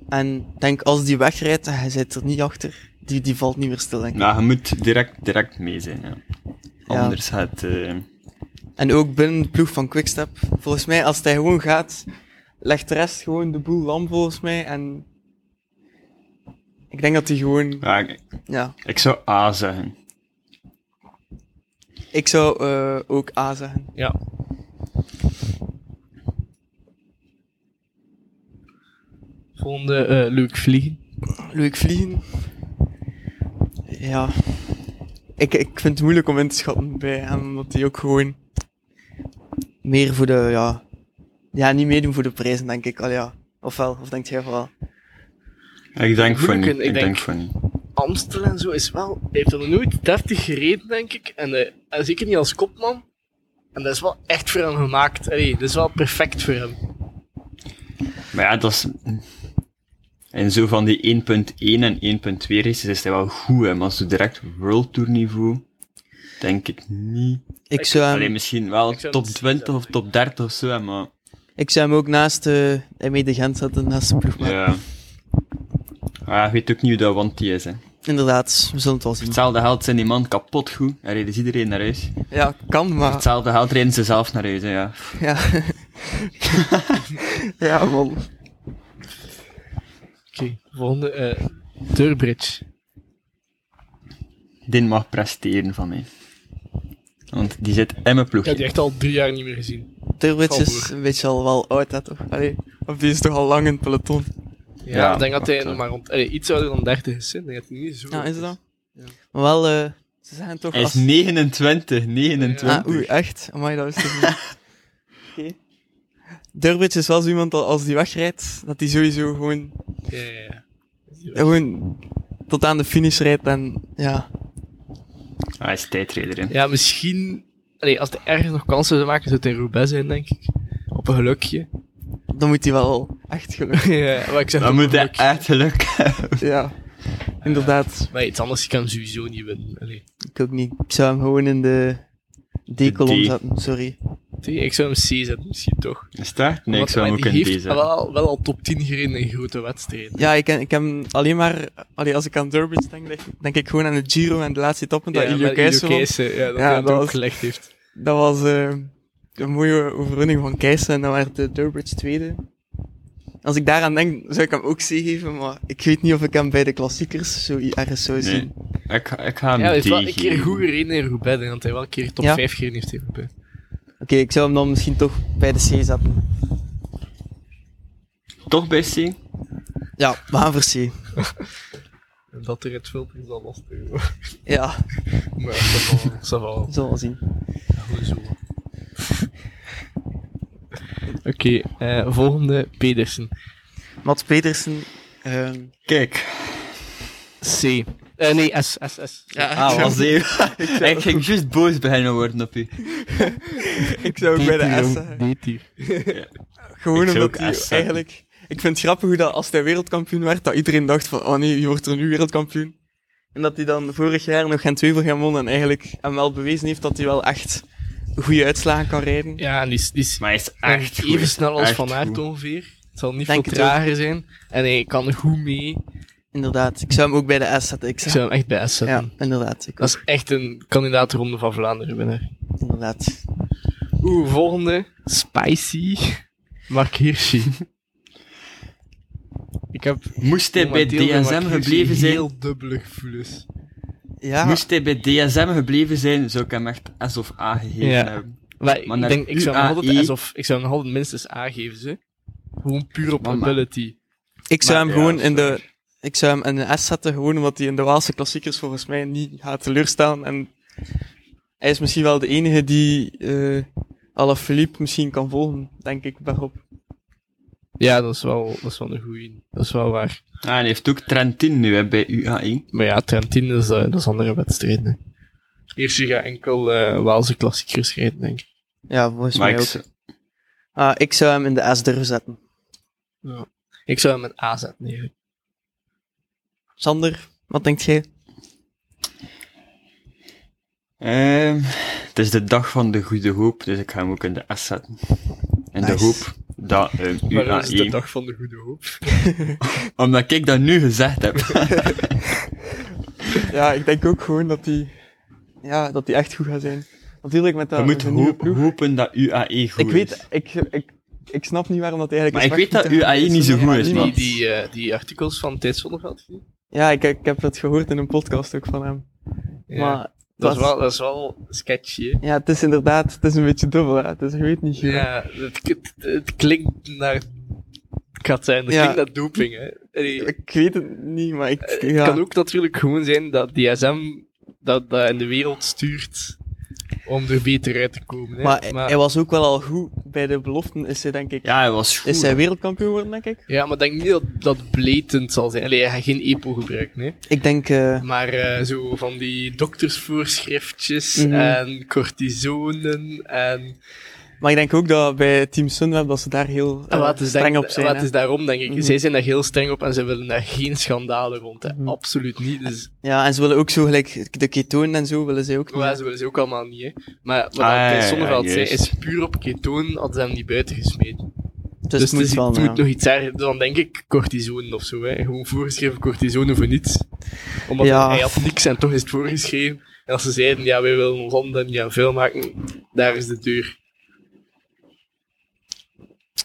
En ik denk, als die wegrijdt, en hij zit er niet achter. Die, die valt niet meer stil, denk ik.
Nou, je moet direct, direct mee zijn, ja.
Ja.
Anders gaat... eh,
En ook binnen de ploeg van Quickstep. Volgens mij, als hij gewoon gaat, legt de rest gewoon de boel lam, volgens mij. En ik denk dat hij gewoon...
ja, ik,
Ja,
ik zou A zeggen.
ik zou eh, ook A zeggen.
Ja. Volgende, eh Luke Vliegen.
Leuk vliegen. Ja. Ik, ik vind het moeilijk om in te schatten bij hem, omdat hij ook gewoon meer voor de, ja, ja, niet meedoen voor de prijzen, denk ik. Al ja, ofwel, of denkt jij vooral?
Ik denk van niet.
Moeilijk,
Ik,
ik
denk...
denk-
van niet.
Amstel en zo is wel... Hij heeft er nooit 30 gereden, denk ik. En, eh, en zeker niet als kopman. En dat is wel echt voor hem gemaakt. Allee, dat is wel perfect voor hem.
Maar ja, dat is... En zo van die 1.1 en 1.2 races is hij wel goed, hè. Maar zo direct World Tour niveau, denk ik niet.
Ik zou
Alleen
hem,
misschien wel
ik zou
top
het zien
20 of
zelf,
top 30 of zo, hè, maar...
ik zou hem ook naast eh mee de Gent zetten, naast de ploegmaat.
Ja. Maar ja, ik weet ook niet hoe dat Wanty is, hè.
Inderdaad, we zullen het wel zien.
Hetzelfde geld zijn die man kapot goed. En reden ze iedereen naar huis.
Ja, kan, maar...
Hetzelfde geld reden ze zelf naar huis, hè, ja.
Ja, ja man.
Oké, volgende, eh Durbridge.
Dit mag presteren van mij. Want die zit in mijn
Ik
ploegje.
heb die echt al drie jaar niet meer gezien.
Turwits is
Valburg.
een beetje al wel oud, hè, toch? Allee, of die is toch al lang in het peloton?
Ja,
Ja,
ik denk dat hij
dat,
nog
eh.
maar rond, allee, iets ouder dan 30 is. hè. Ik denk dat hij niet zo...
Ja,
oud
is het dan?
Ja.
Maar wel, eh, ze zijn toch
Hij
als...
is 29, 29.
Ah, oei, echt? Amai, dat wist ik niet. Oké. Durbridge is wel zo iemand dat als die wegrijdt, dat die sowieso gewoon,
Ja, ja, ja.
gewoon tot aan de finish rijdt en ja.
Hij Ah, is tijdrijder, hè.
Ja, misschien... Allee, als hij ergens nog kansen zou maken, zou het in Roubaix zijn, denk ik. Op een gelukje.
Dan moet hij wel echt gelukkig.
ja, maar ik zeg
Dan
ook
moet hij
geluk.
echt geluk hebben.
Ja, inderdaad.
Maar iets anders kan hem sowieso niet winnen. Allee.
Ik ook niet. Ik zou hem gewoon in de
De
D-kolom
D.
zetten, sorry.
Tee, Ik zou hem C zetten, misschien toch.
Is dat? Nee, ik
Want-
zou hem
maar
ook
die
in
heeft
deze hebben.
wel, wel al top 10 gereden in grote wedstrijden.
Ja, ik, ken- ik heb hem alleen maar, allee, als ik aan Durbridge denk, denk- denk ik gewoon aan de Giro en de laatste etappe dat
Ja,
Ilio
met
Keijs
Ilio
won.
Keijsen, ja, dat
Ja,
hij het
dat
ook
was-
gelegd heeft.
Dat was eh, een mooie overwinning van Keijs en dan werd de Durbridge tweede. Als ik daaraan denk, zou ik hem ook C geven, maar ik weet niet of ik hem bij de klassiekers zo i- ergens zou
Nee.
zien.
Ik, ga- ik ga hem
Ja, hij heeft wel een
D
keer
geven.
goed gereden in Roubaix. Ik denk dat hij wel een keer top
Ja.
5 gereden heeft in Roubaix.
Oké, ik zou hem dan misschien toch bij de C zetten.
Toch bij C?
Ja, we gaan voor C.
En dat er het filter is al lastig. hoor.
Ja,
Maar dat zal wel- dat zal wel.
zullen we wel
goed
zien.
zo. Oké, eh, volgende Pedersen.
Mats Petersen. ehm,
Kijk.
C. Eh, nee, S, S, S.
Ah, was even. ik ging juist boos beginnen worden op u.
ik zou ook bij de S zeggen.
D-tier.
Gewoon
Ik zou
omdat
ook
hij
S zetten.
eigenlijk... Ik vind het grappig hoe dat als hij wereldkampioen werd, dat iedereen dacht van, oh nee, je wordt er nu wereldkampioen. En dat hij dan vorig jaar nog geen twijfel gaan wonnen en eigenlijk hem wel bewezen heeft dat hij wel echt goede uitslagen kan rijden.
Ja, en die is, die is
Maar hij is echt goed.
even snel als
Echt
Van Aert
goed.
ongeveer. Het zal niet
Denk
veel
het ook.
trager zijn. En hij kan goed mee.
Inderdaad, ik zou hem ook bij de S zetten. Ik
Ik
zou...
zou hem echt bij S zetten.
Ja, inderdaad. Ik
Dat is echt een kandidaat Ronde van Vlaanderen winnaar.
ook, inderdaad.
Oeh, volgende. Spicy. Mark Hirschi. Ik heb
Moest hij bij
momenteel Mark
DSM
Hirschi
gebleven zijn,
heel dubbele gevoelens.
Ja,
Moest hij bij DSM gebleven zijn, zou ik hem echt S of A gegeven
Ja.
hebben.
Maar,
Maar
ik
naar
denk, ik zou hem nog
UAE
altijd, alsof, ik zou hem nog altijd minstens A geven, ze. Gewoon puur op
Maar- maar-
ability.
Ik zou
Maar
hem
ja,
gewoon
is
in de...
waar.
Ik zou hem in een S zetten, gewoon omdat hij in de Waalse klassiekers volgens mij niet gaat teleurstellen. En hij is misschien wel de enige die eh Alaphilippe misschien kan volgen, denk ik, daarop.
Ja, dat is wel, dat is wel een goeie. Dat is wel waar.
Ah, en hij heeft ook Trentin nu hè, bij UAE.
Maar ja, Trentin is, eh, dat is andere wedstrijden. hè. Eerst je gaat enkel eh, Waalse klassiekers rijden, denk ik.
Ja, volgens
Maar
mij
ik,
ook. Ah, ik zou hem in de S durven zetten.
Ik zou hem een A zetten, eigenlijk.
Sander, wat denkt jij?
Ehm, het is de dag van de goede hoop, dus ik ga hem ook in de S zetten. In de
Nice.
hoop dat ehm,
Maar dat is de
UAE...
dag van de goede hoop.
Omdat ik dat nu gezegd heb.
Ja, ik denk ook gewoon dat die, ja, dat die echt goed gaat zijn. Natuurlijk met dat
We moeten
een nieuwe
hoop,
ploeg.
hopen dat UAE goed
Ik weet,
is.
ik, ik, ik snap niet waarom dat eigenlijk...
Maar
is
ik weet dat
weggehaald.
UAE niet zo goed is,
niemand-
Die,
man.
die, eh, die artikels van Thijs Zonneveld.
Ja, ik, ik heb het gehoord in een podcast ook van hem.
Ja.
Maar het
dat, is
was-
wel, dat is wel sketchy, hè.
Ja, het is inderdaad, het is een beetje dubbel. Hè. Het is, je weet niet.
Ja, het, het, het klinkt naar... Ik ga het zeggen, het
Ja.
klinkt naar doping, hè. En die-
Ik weet het niet, maar ik...
Het
ja.
kan ook natuurlijk gewoon zijn dat DSM dat, dat in de wereld stuurt om er beter uit te komen. Hè.
Maar, hij- hij was ook wel al goed bij de beloften. Is hij, denk ik...
Ja, hij was goed.
is hij wereldkampioen geworden, denk ik?
ja, maar ik denk niet dat dat blatend zal zijn. Allee, hij gaat geen EPO gebruiken. Hè.
Ik denk... eh,
Maar eh, zo van die doktersvoorschriftjes
Mhm.
en cortisonen en...
maar ik denk ook dat bij Team Sunweb, dat ze daar heel eh,
en Ah, wat is, denk-
streng op zijn.
wat
hè.
is daarom, denk ik.
Mhm.
Zij zijn daar heel streng op en ze willen daar geen schandalen rond. Hè.
Mhm.
Absoluut niet. Dus,
Ja, en ze willen ook zo gelijk de ketonen en zo willen ze ook niet.
maar ze willen ze ook allemaal niet. Hè. Maar wat
Ah, ja,
ah,
ja,
Sonneveld zei,
juist.
is puur op ketonen hadden ze hem niet buiten gesmeten.
dus, het
dus
moet
het, is-
wel,
het
ja.
moet nog iets erger. Dan denk ik cortisonen of zo. Hè. Gewoon voorgeschreven cortisonen voor niets. Omdat
Ja.
hij had niks en toch is het voorgeschreven. En als ze zeiden, ja, wij willen ons handen niet aan vuil maken, daar is de deur.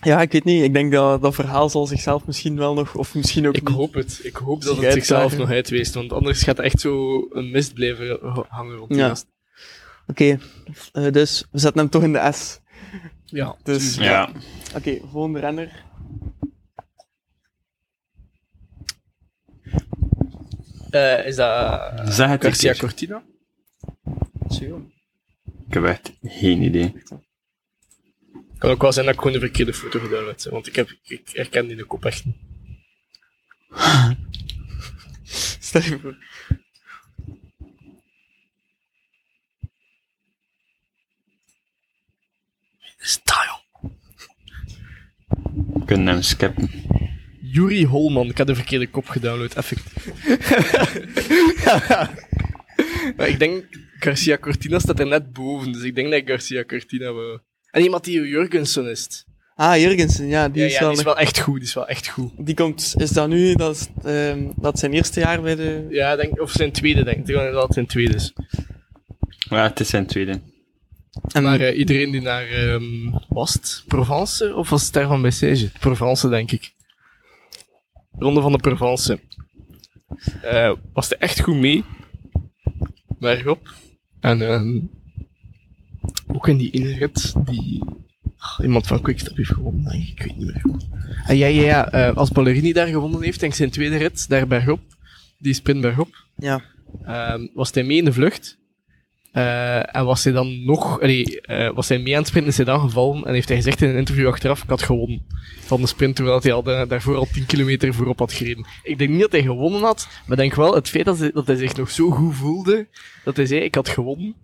Ja, ik weet niet. Ik denk dat dat verhaal zal zichzelf misschien wel nog, of misschien ook
Ik
niet.
hoop het. Ik hoop dat
Zich
het zichzelf
uitdagen.
nog uitweest. Want anders gaat er echt zo een mist blijven h- hangen rond die
Ja.
gast.
Oké, eh, dus we zetten hem toch in de S.
Ja.
Dus,
Ja.
Oké, volgende renner. dus-
Eh, is dat
Zeg het eens.
Garcia
Ik
Cortina?
heb echt geen idee.
Kan ook wel zijn dat ik gewoon de verkeerde foto gedaan heb. Want ik, heb, ik herken die de kop echt niet.
Stel je voor.
Style.
We kunnen hem skippen.
Yuri Holman. Ik had de verkeerde kop gedownload, effectief. maar ik denk, Garcia Cortina staat er net boven, dus ik denk dat ik Garcia Cortina wel... En iemand die Jurgensen is.
Ah, Jurgensen, ja, die,
Die, ja,
is
ja,
wel
die is
nog-
wel echt goed, die is wel echt goed.
die komt, is dat nu, dat, is, ehm, dat zijn eerste jaar bij de...
Ja, denk, of zijn tweede, denk ik. Ik denk dat het zijn tweede is.
Ja, het is zijn tweede.
En,
Maar eh, iedereen die naar... ehm was het Provence? Of was het daar van Bessège? Provence, denk ik. Ronde van de Provence. Eh, was er echt goed mee. Bergop. En ehm, ook in die inrit die... ah, iemand van Quickstep heeft gewonnen, denk ik. Ik weet niet meer. Ah, ja, ja, ja. eh, als Ballerini daar gewonnen heeft, denk ik zijn tweede rit, daar bergop. Die sprint bergop.
ja,
Ehm, was hij mee in de vlucht? Eh, en was hij dan nog, allee, eh, was hij mee aan het sprinten, is hij dan gevallen en heeft hij gezegd in een interview achteraf, ik had gewonnen van de sprint, terwijl hij al da- daarvoor al 10 kilometer voorop had gereden. Ik denk niet dat hij gewonnen had, maar denk wel het feit dat hij, dat hij zich nog zo goed voelde, dat hij zei, ik had gewonnen.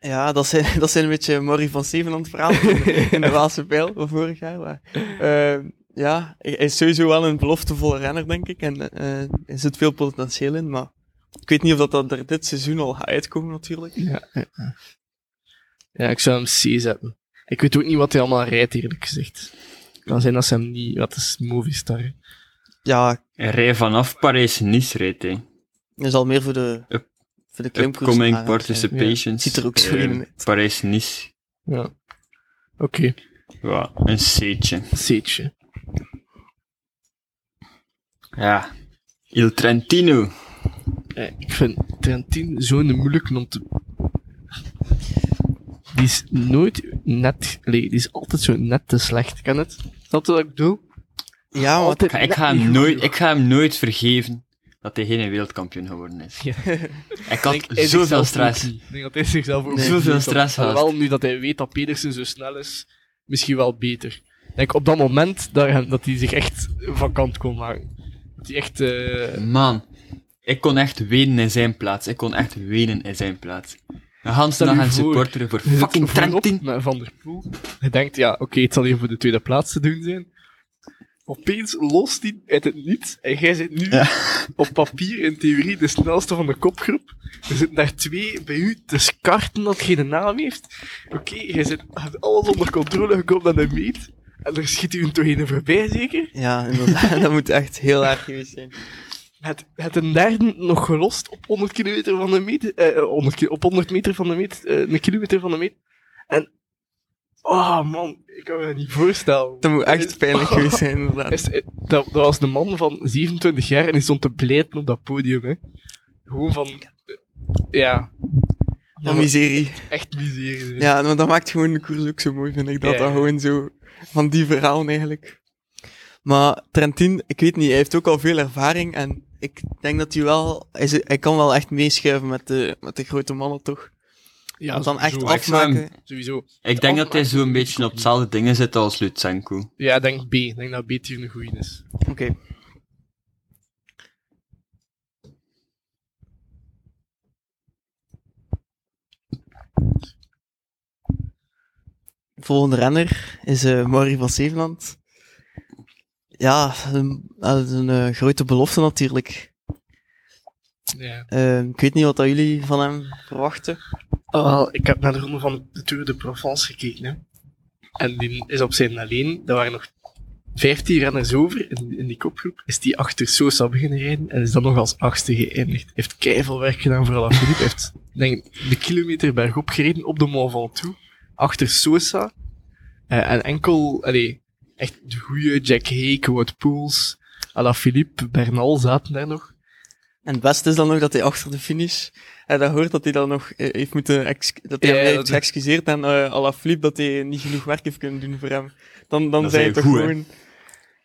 ja dat, zijn, dat zijn een beetje Morrie van Zevenland verhaal in de- in de Waalse Pijl van vorig jaar. Maar, ehm, ja, hij is sowieso wel een beloftevolle renner, denk ik. En eh, er zit veel potentieel in, maar ik weet niet of dat, dat er dit seizoen al gaat uitkomen, natuurlijk.
Ja, ja. ja ik zou hem C zetten. Ik weet ook niet wat hij allemaal rijdt, eerlijk gezegd. Het kan zijn dat ze hem niet, wat is Movistar. hè.
Ja,
Hij rijdt vanaf Parijs-Nice reed hij.
dat is al meer voor de,
Up-
voor de klimkoers.
Upcoming
aangehaald, hè.
participations.
Ziet er ook zo
Ehm,
in uit.
Parijs-Nice.
Ja. Oké,
Ja, een C'tje.
C'tje.
Ja. Il Trentino.
Eh, ik vind Trentin zo'n moeilijke om te... Die is nooit net... allee, die is altijd zo net te slecht. Ken het? Snap je wat ik bedoel?
Ja, want
Oh, Ik ga, ik, ga hem nooit, ik ga hem nooit vergeven dat hij geen wereldkampioen geworden is.
Ja.
Hij had zoveel stress.
Ik denk dat hij zichzelf ook
Nee,
niet
zoveel
doet.
stress had.
Alhoewel, nu dat hij weet dat Pedersen zo snel is, misschien wel beter. Ik denk op dat moment dat hij, dat hij zich echt van kant kon maken. Dat hij echt... eh,
Man, ik kon echt wenen in zijn plaats. Ik kon echt wenen in zijn plaats. Een Hans
Stel
dag
u
gaan
voor,
supporteren voor fucking
zit voorop
Trentin.
Met Van der Poel. Hij denkt, ja, oké, het zal hier voor de tweede plaats te doen zijn. Opeens lost hij uit het niet. En jij zit nu
Ja.
op papier, in theorie, de snelste van de kopgroep. Er zitten daar twee bij u te skarten dat geen naam heeft. Oké, jij zit je hebt alles onder controle gekomen dat hij meet. En er schiet u een toch een voorbij, zeker?
Ja, inderdaad. dat moet echt heel erg geweest zijn.
Het, het een derde nog gelost op 100 kilometer van de meet. eh, 100 ki- op 100 meter van de meet. eh, een kilometer van de meet. En. Oh man, ik kan me dat niet voorstellen. Eh, oh.
Dat moet echt pijnlijk geweest zijn, inderdaad.
Is- eh, dat, dat was een man van 27 jaar en die stond te blijten op dat podium. Hè. Gewoon van. eh, ja.
Wat miserie.
Echt miserie. hè.
Ja, maar dat maakt gewoon de koers ook zo mooi, vind ik. Dat
Dus- Ja,
dat
ja.
gewoon zo... Van die verhalen eigenlijk. Maar Trentin, ik weet niet, hij heeft ook al veel ervaring. En ik denk dat hij wel... Hij, is- hij kan wel echt meeschuiven met de, met de grote mannen, toch?
Ja,
Dat dan echt
sowieso,
af-
afmaken.
zou
Sowieso.
Ik denk dat hij zo'n beetje op hetzelfde dingen zit als Lutsenko.
Ja, ik denk B. Ik denk dat B tier een goeie is.
Oké. Volgende renner is eh Maury van Zevenland. Ja, een, dat is een eh, grote belofte natuurlijk.
Ja.
Eh, ik weet niet wat dat jullie van hem verwachten.
Oh, wel, ik heb naar de ronde van de Tour de Provence gekeken. Hè. En die is op zijn alleen. Er waren nog 15 renners over in, in die kopgroep. Is die achter Sosa beginnen rijden en is dan nog als achtste geëindigd. Heeft keiveel werk gedaan voor Alaphilippe. Heeft denk, ik, de kilometer bergop gereden op de Mont Ventoux. Achter Sosa. Eh, en enkel, allee, echt de goede Jack Hake, Wout Poels, Alaphilippe, Bernal zaten daar nog.
En het beste is dan nog dat hij achter de finish. En dan hoort dat hij dan nog eh, heeft moeten. ex- dat hij
Ja,
hem
dat
heeft
is-
geëxcuseerd aan eh Alaphilippe dat hij niet genoeg werk heeft kunnen doen voor hem. Dan, dan
Dat
zei hij
is
toch
goed, hè?
gewoon.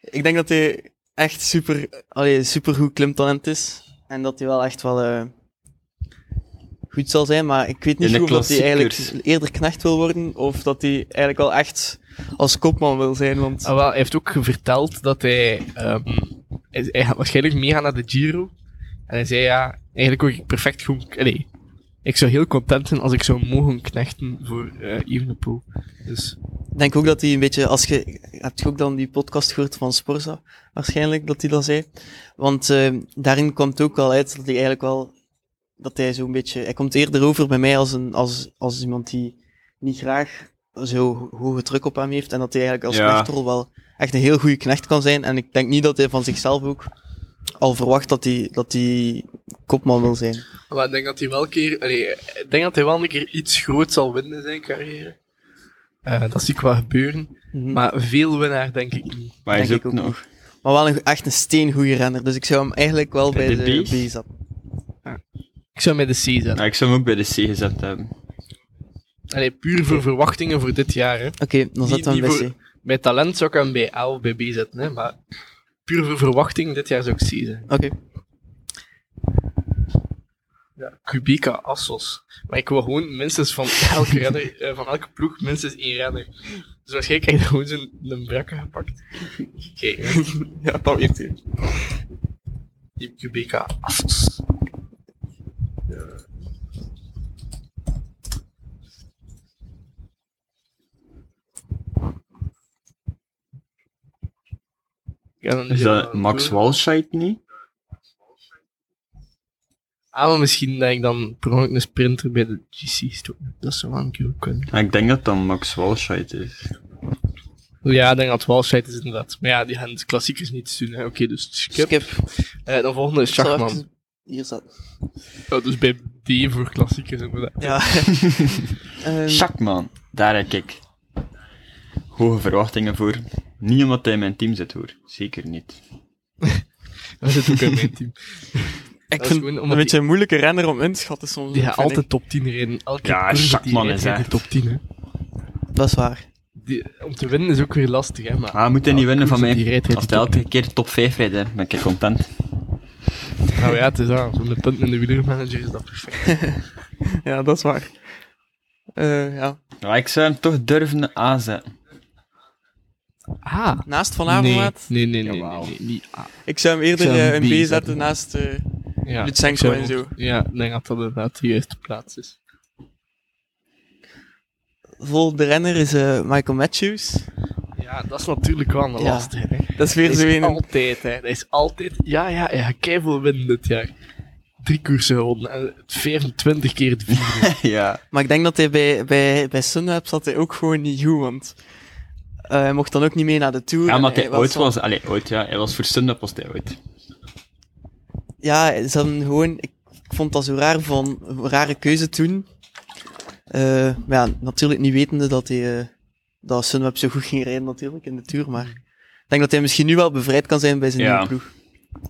Ik denk dat hij echt super. Allee, super goed klimtalent is. En dat hij wel echt wel. eh, goed zal zijn, maar ik weet
In
niet
de
goed of dat hij eigenlijk
klassiekers.
eerder knecht wil worden. Of dat hij eigenlijk wel echt als kopman wil zijn. Want
Ah, wel, hij heeft ook verteld dat hij, ehm, hij, hij gaat waarschijnlijk meegaan naar de Giro. En hij zei ja, eigenlijk ook ik perfect goed. Nee, ik zou heel content zijn als ik zou mogen knechten voor eh Evenepoel. Dus
Ik denk ook dat hij een beetje, als je, hebt je ook dan die podcast gehoord van Sporza, waarschijnlijk, dat hij dat zei. Want eh, daarin kwam het ook wel uit dat hij eigenlijk wel, dat hij zo'n beetje, hij komt eerder over bij mij als, een, als, als iemand die niet graag zo hoge druk op hem heeft. En dat hij eigenlijk als
Ja.
knechtrol wel echt een heel goede knecht kan zijn. En ik denk niet dat hij van zichzelf ook al verwacht dat hij, dat hij kopman wil zijn.
maar ik denk dat hij wel een keer, allee, ik denk dat hij wel een keer iets groots zal winnen in zijn carrière. Eh, dat zie ik wel gebeuren.
Mhm.
Maar veel winnaar denk ik niet.
Maar hij is
Denk
ook,
ik ook
nog.
Maar wel een, echt een steengoeie renner. Dus ik zou hem eigenlijk wel bij
de
de,
B's?
B zetten.
Ik zou mij de C zetten.
Nou, ik zou hem ook bij de C gezet hebben.
Allee, puur voor verwachtingen voor dit jaar. Hè.
Oké, dan zetten we
niet
hem bij
voor-
C.
Bij talent zou ik hem bij A of bij B zetten, hè, maar puur voor verwachting, dit jaar zou ik C zijn.
Oké.
Ja. Kubica, Assos. Maar ik wil gewoon minstens van elke, renner, eh, van elke ploeg minstens één renner. Dus waarschijnlijk heb je gewoon zo'n een brakke gepakt. Oké, hè.
Ja, dat weet hij.
die Kubica, Assos. Ja. Ja, dan
Is dat Max
door.
Walscheid niet?
Ah, maar misschien dat ik dan per ongeluk een sprinter bij de GC stoot. Dat zou wel een keer ook kunnen.
Ah, ik denk dat dat Max Walscheid is.
Oh, Ja, ik denk dat Walscheid is inderdaad. Maar ja, die gaan de klassiekers niet doen. hè. Oké, dus skip.
Skip.
Eh, dan volgende is
Zal
Schachman.
even- Hier staat.
Oh, dus bij D voor klassiekers inderdaad.
Ja. Ehm,
Schakman, daar heb ik hoge verwachtingen voor. Niet omdat hij in mijn team zit hoor, zeker niet.
Dat zit ook in mijn team.
ik
is
vind
gewoon
een
omdat
beetje een moeilijke renner om in te schatten soms.
Die
ook,
gaan
vind
altijd top 10 rijden. Elke
Ja,
koers dat die
Schachman
rijdt,
is
rijdt
echt-
hij top 10. Hè.
ik. Dat is waar.
die- om te winnen is ook weer lastig, hè, maar...
Ah, moet hij
Ja,
niet winnen van
Koes,
mij.
die rijdt- rijdt
Als
die
hij elke keer top 5 rijdt, hè, ben ik content.
Nou ja, het is aan. Zo'n punt in de wielermanager is dat perfect.
Ja, dat is waar. Eh, ja.
Ja, ik zou hem toch durven aanzetten.
Ah.
Naast Van
Nee, nee,
Avermaat?
nee, nee, nee,
Jawel.
nee, niet A.
Ik zou hem eerder
Ik zou hem
eh, een
B
B zetten,
zetten.
naast... eh,
Ja,
Lutsenko
ik zou
en
ook- Ja, ik denk dat dat inderdaad de juiste plaats is.
volgende renner is eh, Michael Matthews.
Ja, dat is natuurlijk wel een
Ja.
lastige, hè.
Dat is weer
Dat
zo
is
een...
altijd, hè. Dat is altijd... Ja, ja, ja. Keiveel winnen dit jaar. Drie koersen gewonnen. en 25 keer het vierde.
ja.
Maar ik denk dat hij bij, bij, bij Sunweb zat hij ook gewoon niet goed, want... eh, hij mocht dan ook niet mee naar de Tour.
Ja,
en
maar hij
was
oud
van-
was. Allee, oud, ja. Hij was voor Sundup was hij oud.
Ja, ze hadden gewoon... Ik vond dat zo raar van... een rare keuze toen. Eh, maar ja, natuurlijk niet wetende dat hij... eh, dat Sunweb zo goed ging rijden natuurlijk in de Tour, maar... Ik denk dat hij misschien nu wel bevrijd kan zijn bij zijn
Ja.
nieuwe ploeg.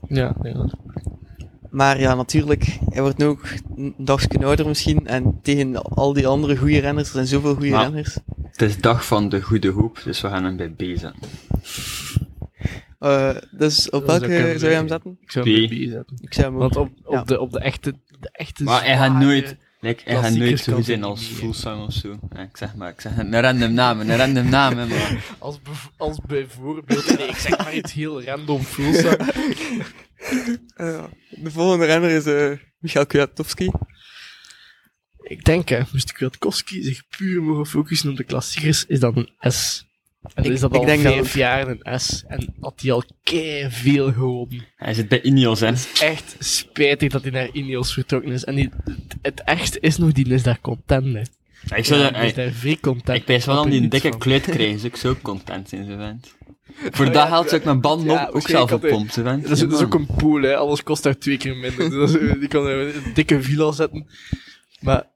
ja, ja.
Maar ja, natuurlijk, hij wordt nu ook een dagje ouder misschien. En tegen al die andere goede renners, er zijn zoveel goede
Maar-
renners.
Het is dag van de goede hoop, dus we gaan hem bij B zetten.
Eh, dus op
Dan zou
welke
ik
zou je hem
eh,
zetten?
Ik zou hem
Die.
bij B zetten.
Ik zou hem ook...
Want op, op,
Ja.
de, op de echte... De echte
Maar hij gaat
zware-
nooit, like, hij gaat
klassiekers
nooit zo
kan
goed zijn
hij
als
niet, hè.
Fullsang of zo. Ja, ik zeg maar, ik zeg een random naam, een random naam. hè, Maar.
Als, bev- als bijvoorbeeld... Nee, ik zeg maar iets heel random. Fulsa.
Eh, de volgende renner is eh Michael Kwiatkowski.
Ik denk, hè, moest Kwiatkowski zich puur mogen focussen op de klassiekers, is dat een S. En
Ik-
is dat
ik
al
denk dat
vijf
ook.
jaar een S. En had hij al kei veel gewonnen.
Hij zit bij Ineos, hè.
Echt spijtig dat hij naar Ineos vertrokken is. En die, het, het ergste is nog, die is daar content mee.
Ja, ik zou
Ja,
daar,
die is daar vrij content.
ik pijs wel aan
Snap
die
er
een
niets
dikke
van.
kluit krijgen, dus ik zou ook content zijn, zo vent. Voor
Ja,
dat geld zou ik mijn band
ja,
ook, ook
oké,
zelf
ik had
oppompen, zo vent.
Dat is,
Ja,
dat is ook
man.
een pool, hè. alles kost daar twee keer minder. Dus dat is- die kan er een dikke villa zetten. Maar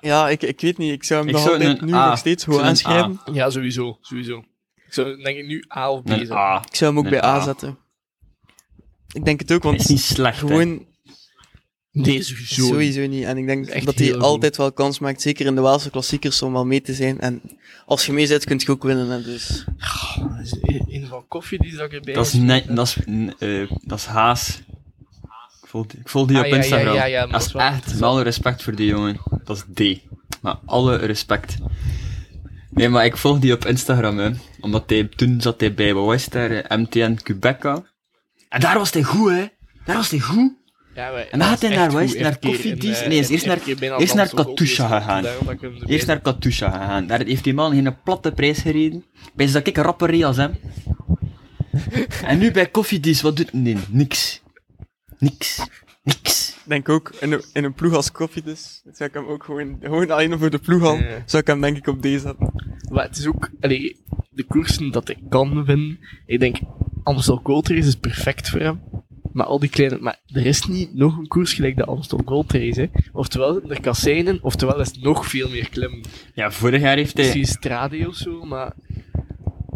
Ja, ik, ik weet niet. Ik zou hem
Ik
nog
zou
altijd
een
nu
A.
nog steeds
Ik zou
goed
een ah.
aanschrijven.
ja, sowieso. sowieso. Ik zou denk ik nu A of B
Een
zetten.
A.
Ik zou hem ook
Een
bij A
A.
zetten. Ik denk het ook,
Hij is
want
niet slecht, hè.
gewoon
Nee, sowieso.
sowieso niet. En ik denk
is echt
dat hij
heel goed.
altijd wel kans maakt, zeker in de Waalse klassiekers, om wel mee te zijn. En als je mee zit, kun je ook winnen. Hè, dus...
Dat is een- een van koffie die zag erbij.
Dat is, net, dat, is, n- eh, dat is haas. Ik volg die, ik volg die
Ah,
op
ja, ja,
Instagram.
ja, ja, maar
dat
dat
is
is wel
echt, met alle respect voor die jongen. Dat is D. Maar alle respect. Nee, maar ik volg die op Instagram, hè. Omdat hij, toen zat hij bij, wat was het daar, eh, MTN Quebeca. En daar was hij goed, hè. Daar was hij goed.
Ja, maar
En dan gaat hij
echt
naar- waar
goed.
is hij naar
Heeft keer
koffiedienst?
in,
Nee, is
eh,
eerst
heeft
naar-
keer bijna
eerst naar
dans op
Katusha
opgegaan.
gegaan.
dus Daarom dat ik hem erbij
Eerst naar Katusha gegaan. Daar heeft die man geen platte prijs gereden. Bij dat ik een rapper reed als hem. en nu bij Koffiedies, wat doet hij? Nee, niks. Niks. Niks.
Ik denk ook, in een, in een ploeg als koffie dus, zou ik hem ook gewoon, gewoon alleen voor de ploeg al,
Ja.
zou ik hem denk ik op D zetten.
zet. Maar het is ook... Allee, de koersen dat ik kan winnen... Ik denk, Amstel Gold Race is perfect voor hem. Maar al die kleine... Maar er is niet nog een koers gelijk de Amstel Gold Race, hè. Oftewel zitten er kasseinen, oftewel is het nog veel meer klimmen.
Ja, vorig jaar heeft hij...
Misschien Strade of zo, maar...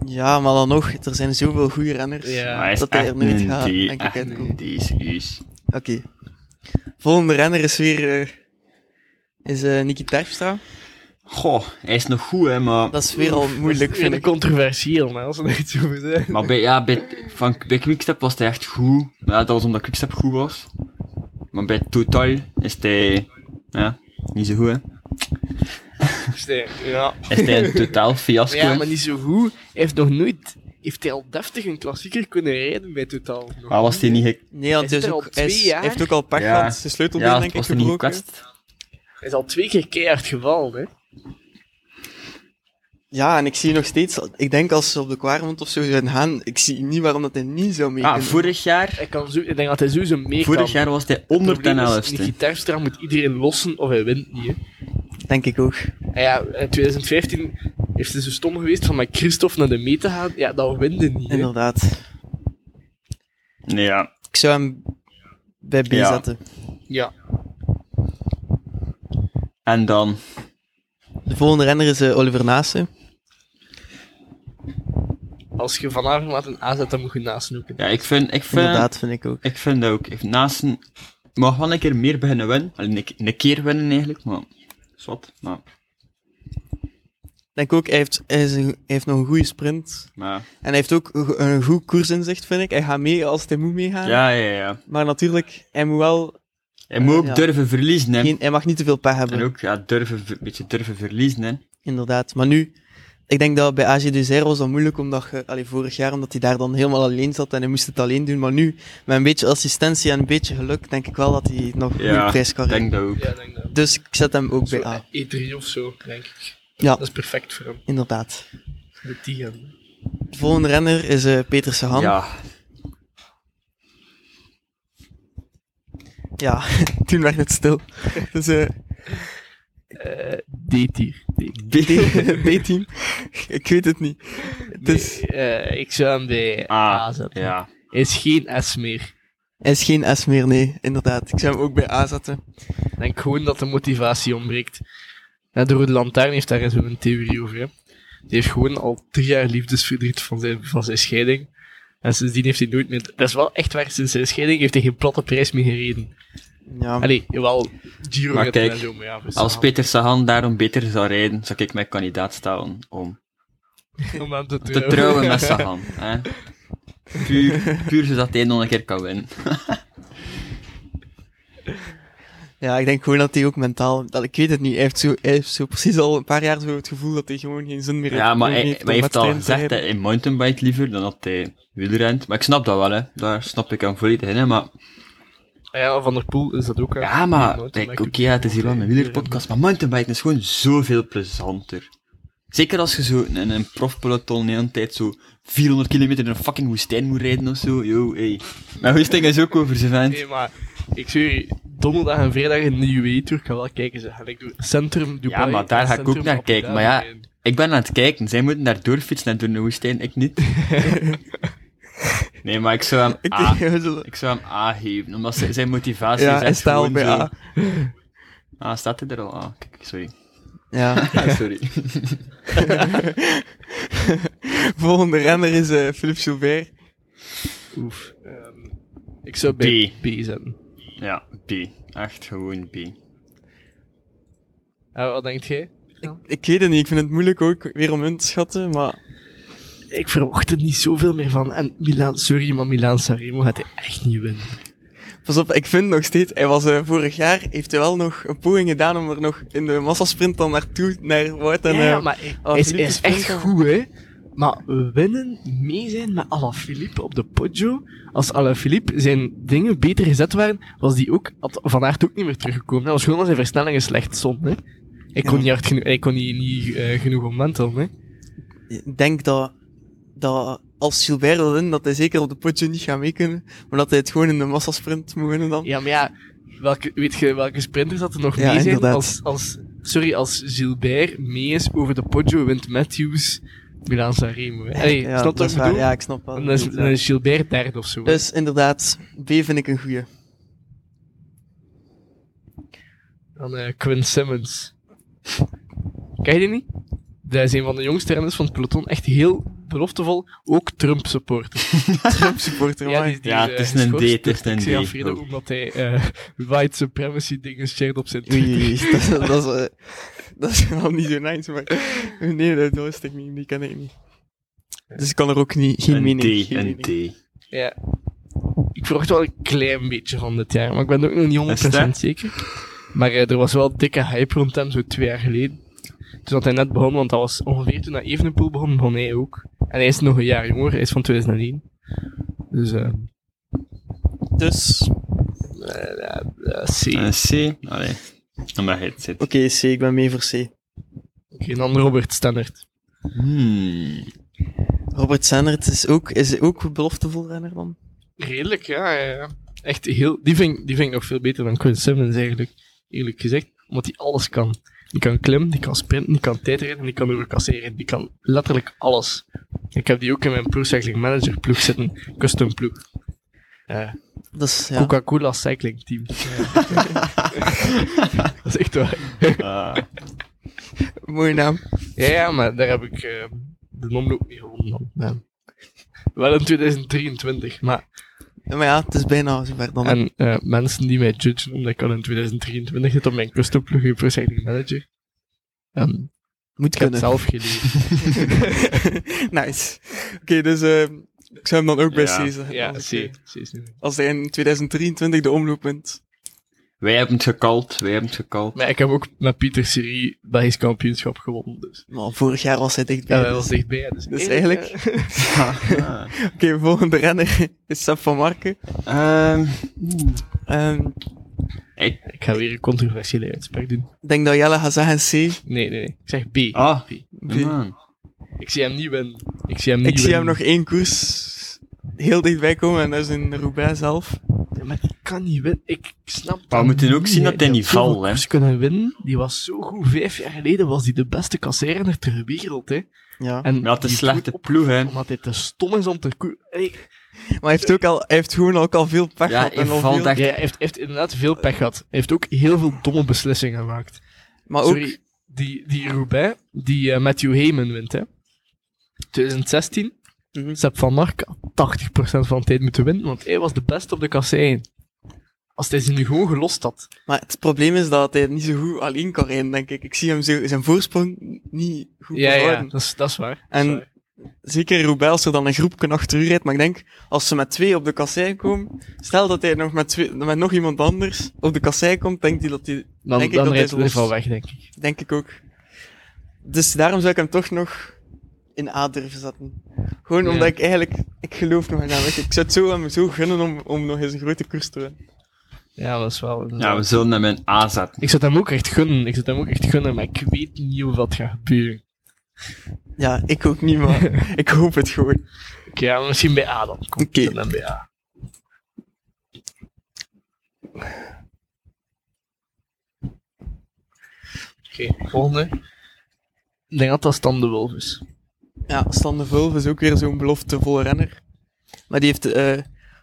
Ja, maar dan nog, er zijn zoveel goede renners.
Ja.
Maar Ah, hij is
Dat hij er
echt
nooit
een
gaat,
D,
denk ik
echt
uitkomen.
een D, serieus.
Oké. Volgende renner is weer, eh, is eh Niki Terpstra.
Goh, hij is nog goed, hè, maar...
Dat is weer al moeilijk,
Dat is weer
vind ik.
controversieel, maar als we er iets over zeggen.
Maar bij, ja, bij, van, bij Quickstep was hij echt goed. Ja, dat was omdat Quickstep goed was. Maar bij Total is hij... Ja, niet zo goed, hè.
Ja.
Is hij een totaal fiasco.
Ja,
hè.
maar niet zo goed. Hij heeft nog nooit... Heeft hij al deftig een klassieker kunnen rijden bij Totaal? Nog
Maar was hij niet gek...
Nee, want
Hij zit
hij, is
er
ook,
al
hij is-
twee jaar.
heeft ook al pech
Ja.
gehad. Zijn sleutelbeen
Ja,
denk ik
was hij niet
gebroken.
gekwetst?
Hij is al twee keer keihard gevallen, hè.
Ja, en ik zie nog steeds, ik denk als ze op de Kwaremond of zo zouden gaan, ik zie niet waarom dat hij niet zou mee
Ah,
kunnen.
vorig jaar...
Hij kan zo, ik denk dat hij sowieso mee
Vorig
kan.
jaar was hij
Het probleem is,
111ste.
Niki Terpstra moet iedereen lossen of hij wint niet, hè.
Denk ik ook.
En ja, in 2015 heeft hij zo stom geweest van met Christophe naar de mee te gaan. Ja, dat winde niet, hè.
Inderdaad.
Nee, ja.
Ik zou hem bij B
Ja.
zetten.
Ja.
En dan...
De volgende renner is eh, Oliver Naassen.
Als je vanavond laat een A zet, dan moet je nasnoeken.
Ja, ik vind... Ik vind
Inderdaad, vind ik ook.
Ik vind dat ook. Ik- Naast een... mag wel een keer meer beginnen winnen. Alleen een, een keer winnen eigenlijk, maar... Zwat, maar...
denk ook, hij heeft, hij is een- hij heeft nog een goede sprint.
Maar,
En hij heeft ook een een goed koersinzicht, vind ik. Hij gaat mee als hij moet meegaan.
ja, ja, ja.
Maar natuurlijk, hij moet wel...
Hij moet ook
Ja.
durven verliezen, hè.
Geen, hij mag niet te veel pech hebben.
En ook, ja, durven, een beetje durven verliezen, hè.
Inderdaad. Maar nu, ik denk dat bij AG Dessert was dat moeilijk, omdat je, allee, vorig jaar, omdat hij daar dan helemaal alleen zat en hij moest het alleen doen. Maar nu, met een beetje assistentie en een beetje geluk, denk ik wel dat hij nog een goede
Ja,
prijs kan
ik
rijden.
denk dat ook.
Ja, denk dat.
Dus ik zet hem ook bij A.
E3 of zo, denk ik.
Ja,
Dat is perfect voor hem.
inderdaad.
Met die gaan.
De volgende renner is eh, Peter Sagan. Ja.
Ja,
toen werd het stil. Dus eh,
D-tier.
B- B-team, ik weet het niet. Dus, Het is,
eh, ik zou hem bij
Ah,
A zetten.
ja.
Hij is geen S meer.
hij is geen S meer, nee, inderdaad. Ik zou hem ook bij A zetten.
Ik denk gewoon dat de motivatie ontbreekt. Ja, de Rode Lantaarn heeft daar zo'n theorie over. Hè. Die heeft gewoon al drie jaar liefdesverdriet van zijn, van zijn scheiding. En sindsdien heeft hij nooit meer... Dat is wel echt waar, sinds zijn scheiding heeft hij geen platte prijs meer gereden.
Ja,
Allee, jawel, Giro
Maar
gaat hij
kijk,
en zo, maar ja, voor
Als
Sagan.
Peter Sagan daarom beter zou rijden, zou ik mij kandidaat stellen om
Om aan te
te
trouwen.
trouwen met Sagan. Hè? Puur, puur zodat hij nog een keer kan winnen.
Ja, ik denk gewoon dat hij ook mentaal, dat, ik weet het niet, hij heeft, zo, hij heeft zo precies al een paar jaar zo het gevoel dat hij gewoon geen zin meer
Ja, maar hij,
heeft. om
hij heeft al
wedstrijden te
gezegd dat
rijden.
hij mountainbike liever dan dat hij wielrent. Maar ik snap dat wel, hè. daar snap ik hem volledig in. Hè. Maar,
Ja, Van der Poel is dat ook. hè.
ja, maar
Nooit,
kijk,
ik
oké,
doe-
ja, het is hier wel een wielerpodcast, maar mountainbiken is gewoon zoveel plezanter. Zeker als je zo in een profpeloton de hele tijd zo 400 kilometer in een fucking woestijn moet rijden of zo. Yo, ey. Mijn hoesting is ook over zijn vent.
Nee, maar ik zweer je, donderdag en vrijdag in de UAE-tour ga wel kijken. Zeg. En ik doe centrum Dubai.
Ja, maar daar ga ik
centrum
ook naar
Abu
kijken. Maar
Dhabi
ja,
en-
ik ben aan het kijken. Zij moeten daar doorfietsen en door de woestijn, ik niet. nee, maar ik zou hem
Ik
A,
denk, we zullen-
ik zou hem A geven, omdat zij- zijn motivatie
ja,
is
hij
echt
staat al
gewoon
bij
zo...
A.
Ah, staat hij er al? Ah, kijk, sorry.
Ja.
Ah, sorry.
Volgende renner is eh Philippe Gilbert.
Oef. Ehm, ik zou bij
B.
B, zetten.
ja, B. Echt gewoon B.
Ja, Eh, wat denkt jij?
Ik weet het niet, ik vind het moeilijk ook weer om in te schatten, maar
Ik verwacht er niet zoveel meer van. En Milan, sorry, maar Milan Sanremo gaat hij echt niet winnen.
pas op, ik vind nog steeds, hij was eh, vorig jaar, heeft hij wel nog een poging gedaan om er nog in de massasprint dan naartoe, naar Wout en...
Ja, ja,
eh,
maar hij-
oh,
hij is, hij
Philippe
is
is
echt
punten.
goed, hè. Maar winnen, mee zijn met Alaphilippe op de Poggio. Als Alaphilippe zijn dingen beter gezet waren, was die ook, had Van Aert ook niet meer teruggekomen. Dat was gewoon als zijn versnellingen slecht stond, hè. Hij kon
Ja.
niet hard genoeg, hij kon niet, niet eh, genoeg omwentelen, hè.
Ik denk dat, dat als Gilbert wil winnen, dat hij zeker op de potje niet gaat mee kunnen, maar dat hij het gewoon in de massasprint moet winnen dan.
Ja, maar ja, welke, weet je welke sprinters dat er nog
Ja,
mee zijn?
inderdaad.
Als, als, sorry, als Gilbert mee is over de Poggio, wint Matthews Milan Sanremo. hè. Allee,
Ja,
snap je
dat
wat
is
ik
waar.
bedoel?
Ja, ik snap wel.
Dan is, dan is Gilbert derde of zo. hè.
Dus inderdaad, B vind ik een goeie.
Dan eh, Quinn Simmons. Ken je die niet? Dat is een van de jongste renners van het peloton. Echt heel beloftevol. Ook Trump-supporter.
Trump supporter,
Ja,
amai.
die, die
Ja,
eh,
het is een D,
geschorst
het is
door
een
Xenia
D.
Frieden,
Oh.
omdat hij eh, white supremacy dingen shared op zijn
Oei,
Twitter.
oei, oei. dat, is- dat, is, eh, dat is wel niet zo nice, maar nee, dat wist ik niet, die ken ik niet. Dus ik kan er ook niet, geen
Een
mening
D,
geen
een
mening.
D.
Ja. Ik verwacht wel een klein beetje van dit jaar, maar ik ben er ook nog niet 100%
Is dat?
zeker. Maar eh, er was wel dikke hype rond hem, zo twee jaar geleden. Toen had hij net begonnen, want dat was ongeveer toen dat Evenepoel begon, begon hij ook. En hij is nog een jaar jonger, hij is van 2001. Dus eh
Dus, oké,
ja, C.
Een C? Allee. Dan ben je het zit.
C, ik ben mee voor C.
Oké, dan Robert Stannard.
Hmm.
Robert Sennert is ook, is ook een beloftevol renner dan.
Redelijk, ja. ja, ja. Echt heel... Die vind, die vind ik nog veel beter dan Quinn Simmons, eigenlijk. Eerlijk gezegd. Omdat hij alles kan. Die kan klimmen, die kan sprinten, die kan tijdrijden, die kan overcasseren. Die kan letterlijk alles. Ik heb die ook in mijn ploeg, cycling manager ploeg zitten. Custom ploeg. Eh,
Dus ja,
Coca-Cola cycling team. dat is echt waar.
Ah.
mooie naam.
Ja, ja, maar daar heb ik eh, de omloop mee gewonnen. dan. Ja. Wel in 2023, maar
Ja, Maar ja, het is bijna zover dan.
En eh, mensen die mij judgen, omdat ik al in 2023 zit op mijn custom plug, Pro Cycling Manager. Ehm,
Moet
Ik heb het
kunnen.
zelf geleerd.
nice. Oké, dus eh, ik zou hem dan ook bij
Ja.
C zeggen.
Ja,
als,
C.
ik, eh,
C is niet.
als hij in 2023 de omloop wint.
Wij hebben het gekald, wij hebben het gekald.
Maar ik heb ook met Pieter Serie Belgisch kampioenschap gewonnen. Dus.
Maar vorig jaar was hij dichtbij.
Ja,
dus-
dat was dichtbij. Dus,
Dus eigenlijk, oké,
Ah.
volgende renner is Seb van Marken.
Ehm,
Ehm,
ik,
Ik ga weer een controversiële uitspraak doen.
Ik denk dat Jelle gaat zeggen C.
Nee, nee, nee. Ik zeg B.
ah,
B.
man.
Ik zie hem niet winnen. Ik zie hem niet
Ik zie hem
winnen.
nog één koers heel dichtbij komen en dat is in Roubaix zelf.
Ja, maar ik kan niet winnen. Ik snap
Maar we
dat
moeten
niet,
ook zien
hè.
dat hij
Die
niet
had zoveel
valt, hè.
koersen kunnen winnen. Die was zo goed. Vijf jaar geleden was hij de beste kasseirner ter wereld, hè.
Ja.
En
Maar het is
die
een slechte
doet op-
ploeg, hè.
Omdat hij te stom is om te koe... Hey,
Maar hij heeft, ook al, hij heeft gewoon ook al veel pech
Ja,
gehad.
hij
En al
valt
veel,
echt-
ja, hij heeft, heeft inderdaad veel pech gehad. Hij heeft ook heel veel domme beslissingen gemaakt.
maar ook,
Sorry, die, die Roubaix, die eh, Matthew Heyman wint, hè. 2016,
Mhm.
Sepp van Mark had 80% van de tijd moeten winnen, want hij was de beste op de kassein. Als hij ze nu gewoon gelost had.
maar het probleem is dat hij niet zo goed alleen kan rijden, denk ik. Ik zie hem zo, zijn voorsprong niet goed
Ja, ja,
behouden.
dat is, dat is waar. dat is
En-
waar.
Zeker in Roubaix als er dan een groepje achter u rijdt. Maar ik denk, als ze met twee op de kassei komen, stel dat hij nog met, twee, met nog iemand anders op de kassei komt, denkt hij dat hij
dan,
denk ik
dan
dat
rijdt hij er
hij los-
van weg, denk ik.
Denk ik ook. Dus daarom zou ik hem toch nog in A durven zetten. Gewoon
Ja.
omdat ik eigenlijk... Ik geloof nog in hem. Ik, ik zou het zo hem zo gunnen om, om nog eens een grote koers te winnen.
Ja, dat is wel...
Ja, we zullen hem in A zetten.
Ik zou het hem ook echt gunnen, ik zou het hem ook echt gunnen, maar ik weet niet of dat gaat gebeuren.
Ja, ik ook niet, maar ik hoop het gewoon.
Oké, ja, maar misschien bij A dan. Kom,
Oké.
zet hem bij A. Oké, volgende. Ik denk dat dat Stan de Wolf is.
Ja, Stan de Vulve is ook weer zo'n beloftevolle renner. Maar die heeft eh,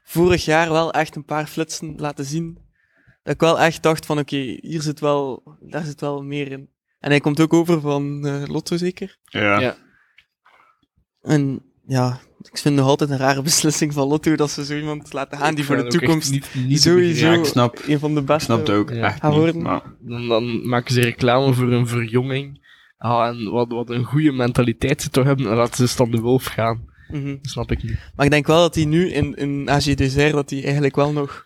vorig jaar wel echt een paar flitsen laten zien. Dat ik wel echt dacht van, oké, hier zit wel... Daar zit wel meer in. En hij komt ook over van eh, Lotto, zeker?
Ja.
Ja.
En ja, ik vind nog altijd een rare beslissing van Lotto dat ze zo iemand laten gaan die voor de toekomst
Niet, niet te
sowieso
Ja, ik snap.
een van de
Ik
beste...
snap het ook
Ja.
echt
Gaan
niet,
worden.
maar...
begrijpen. Dan, dan maken ze reclame voor een verjonging. Ah, en wat, wat een goede mentaliteit ze toch hebben, dan laten ze Stan de Wolf gaan.
Mhm.
Dat snap ik niet.
Maar ik denk wel dat hij nu in, in AG Dessert, dat hij eigenlijk wel nog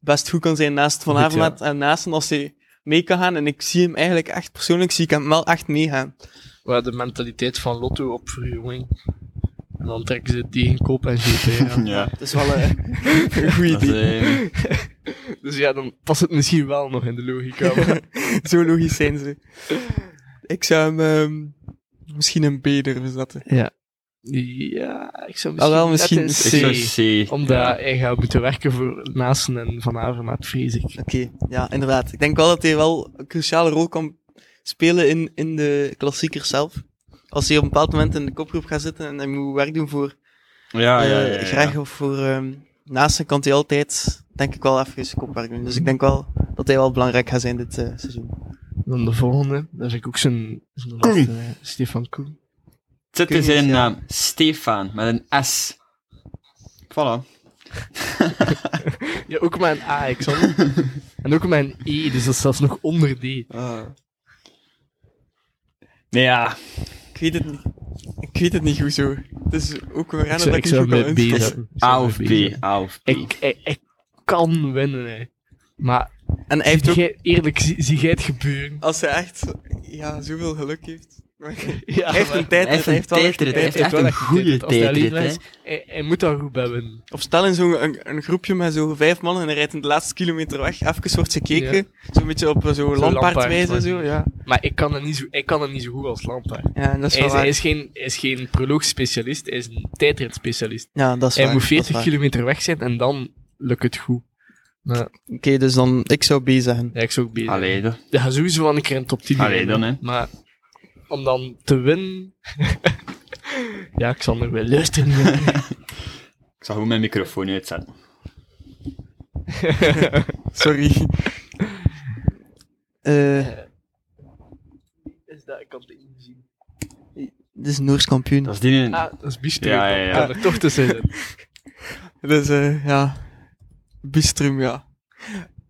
best goed kan zijn naast Van
Goed, ja.
Avermaet en naast hem als hij mee kan gaan. En ik zie hem eigenlijk echt, persoonlijk zie ik hem wel echt meegaan.
Waar de mentaliteit van Lotto op verjonging. En dan trekken ze het tegenkoop en GP aan.
Ja.
Dat is wel eh, een goed
Dat is,
idee.
eh,
Dus ja, dan past het misschien wel nog in de logica. maar-
Zo logisch zijn ze. Ik zou hem ehm, misschien een B durven zetten.
ja, ik zou misschien...
Ah, wel, misschien
net
C.
ik
een C.
zou C.
Omdat hij gaat moeten werken voor Naasten en Van Avermaet, vrees ik.
Oké, ja, inderdaad. Ik denk wel dat hij wel een cruciale rol kan spelen in, in de klassieker zelf. Als hij op een bepaald moment in de kopgroep gaat zitten en hij moet werk doen voor
Ja, Ah, ja, ja.
eh,
ja,
Greg of voor ehm naast hem kan hij altijd, denk ik wel, even kopwerk doen. Dus ik denk wel dat hij wel belangrijk gaat zijn dit eh, seizoen.
Dan de volgende, daar vind ik ook zijn... zijn
Koen.
laatste, eh, Stefan Koen.
Het zit
Kun
in
je
zijn
eens, ja.
naam. Stefan, met een S. Voilà.
Ja, ook maar een A, ik zal En ook maar een E, dus dat is zelfs nog onder D.
Ah.
Nee, ja.
Ik weet het niet. Ik weet het niet goed zo. Het is ook een renner
Ik
dat
zou, ik zou
ik niet goed
hem
kan
met B
inschatten.
zetten. Ik zou
A
hem
of
met
B.
zetten.
A of B.
Ik, ik, ik kan winnen, hè. Maar
En hij heeft
zie
ook,
jij- eerlijk, zie, zie jij het gebeuren?
als hij echt ja, zoveel geluk heeft...
Ja,
Hij heeft
maar-
een tijd,
Hij heeft
hij heeft
een
wel echt
tijdrit, hij
tijd.
heeft echt
wel
een
echt
goede
Als hij alleen
tijdrit,
maar
hè.
is- Hij, hij moet dat goed hebben.
Of stel in zo'n een, een groepje met zo'n vijf mannen en hij rijdt in de laatste kilometer weg. Even wordt gekeken. Zo'n beetje op eh, zo'n lampaardwijze.
lampaardwijze.
Zo, ja.
Maar ik kan het niet zo, ik kan het niet zo goed als Lampaard.
ja, dat is
Hij
wel
is, hij
waar.
is geen, hij is geen proloogspecialist, hij is een tijdritspecialist.
Ja, dat is
Hij
waar,
moet
dat is
40
waar.
kilometer weg zijn en dan lukt het goed. Maar,
Oké, dus dan, ik zou B zeggen.
ja, ik zou ook beter.
Allee, dan.
Ja, sowieso wel een keer in de top 10
Allee,
rijden,
dan, hè.
Maar om dan te winnen... ja, Xander, wij luisteren niet.
Ik zal gewoon mijn microfoon uitzetten.
Sorry. Eh,
Is dat, ik kan het niet zien.
dit is Noors kampioen.
Dat is die een...
Ah, dat is Bistro.
Ja, ja, ja.
Ik kan er toch tussen zitten.
Dus eh, ja, Bistrum, ja.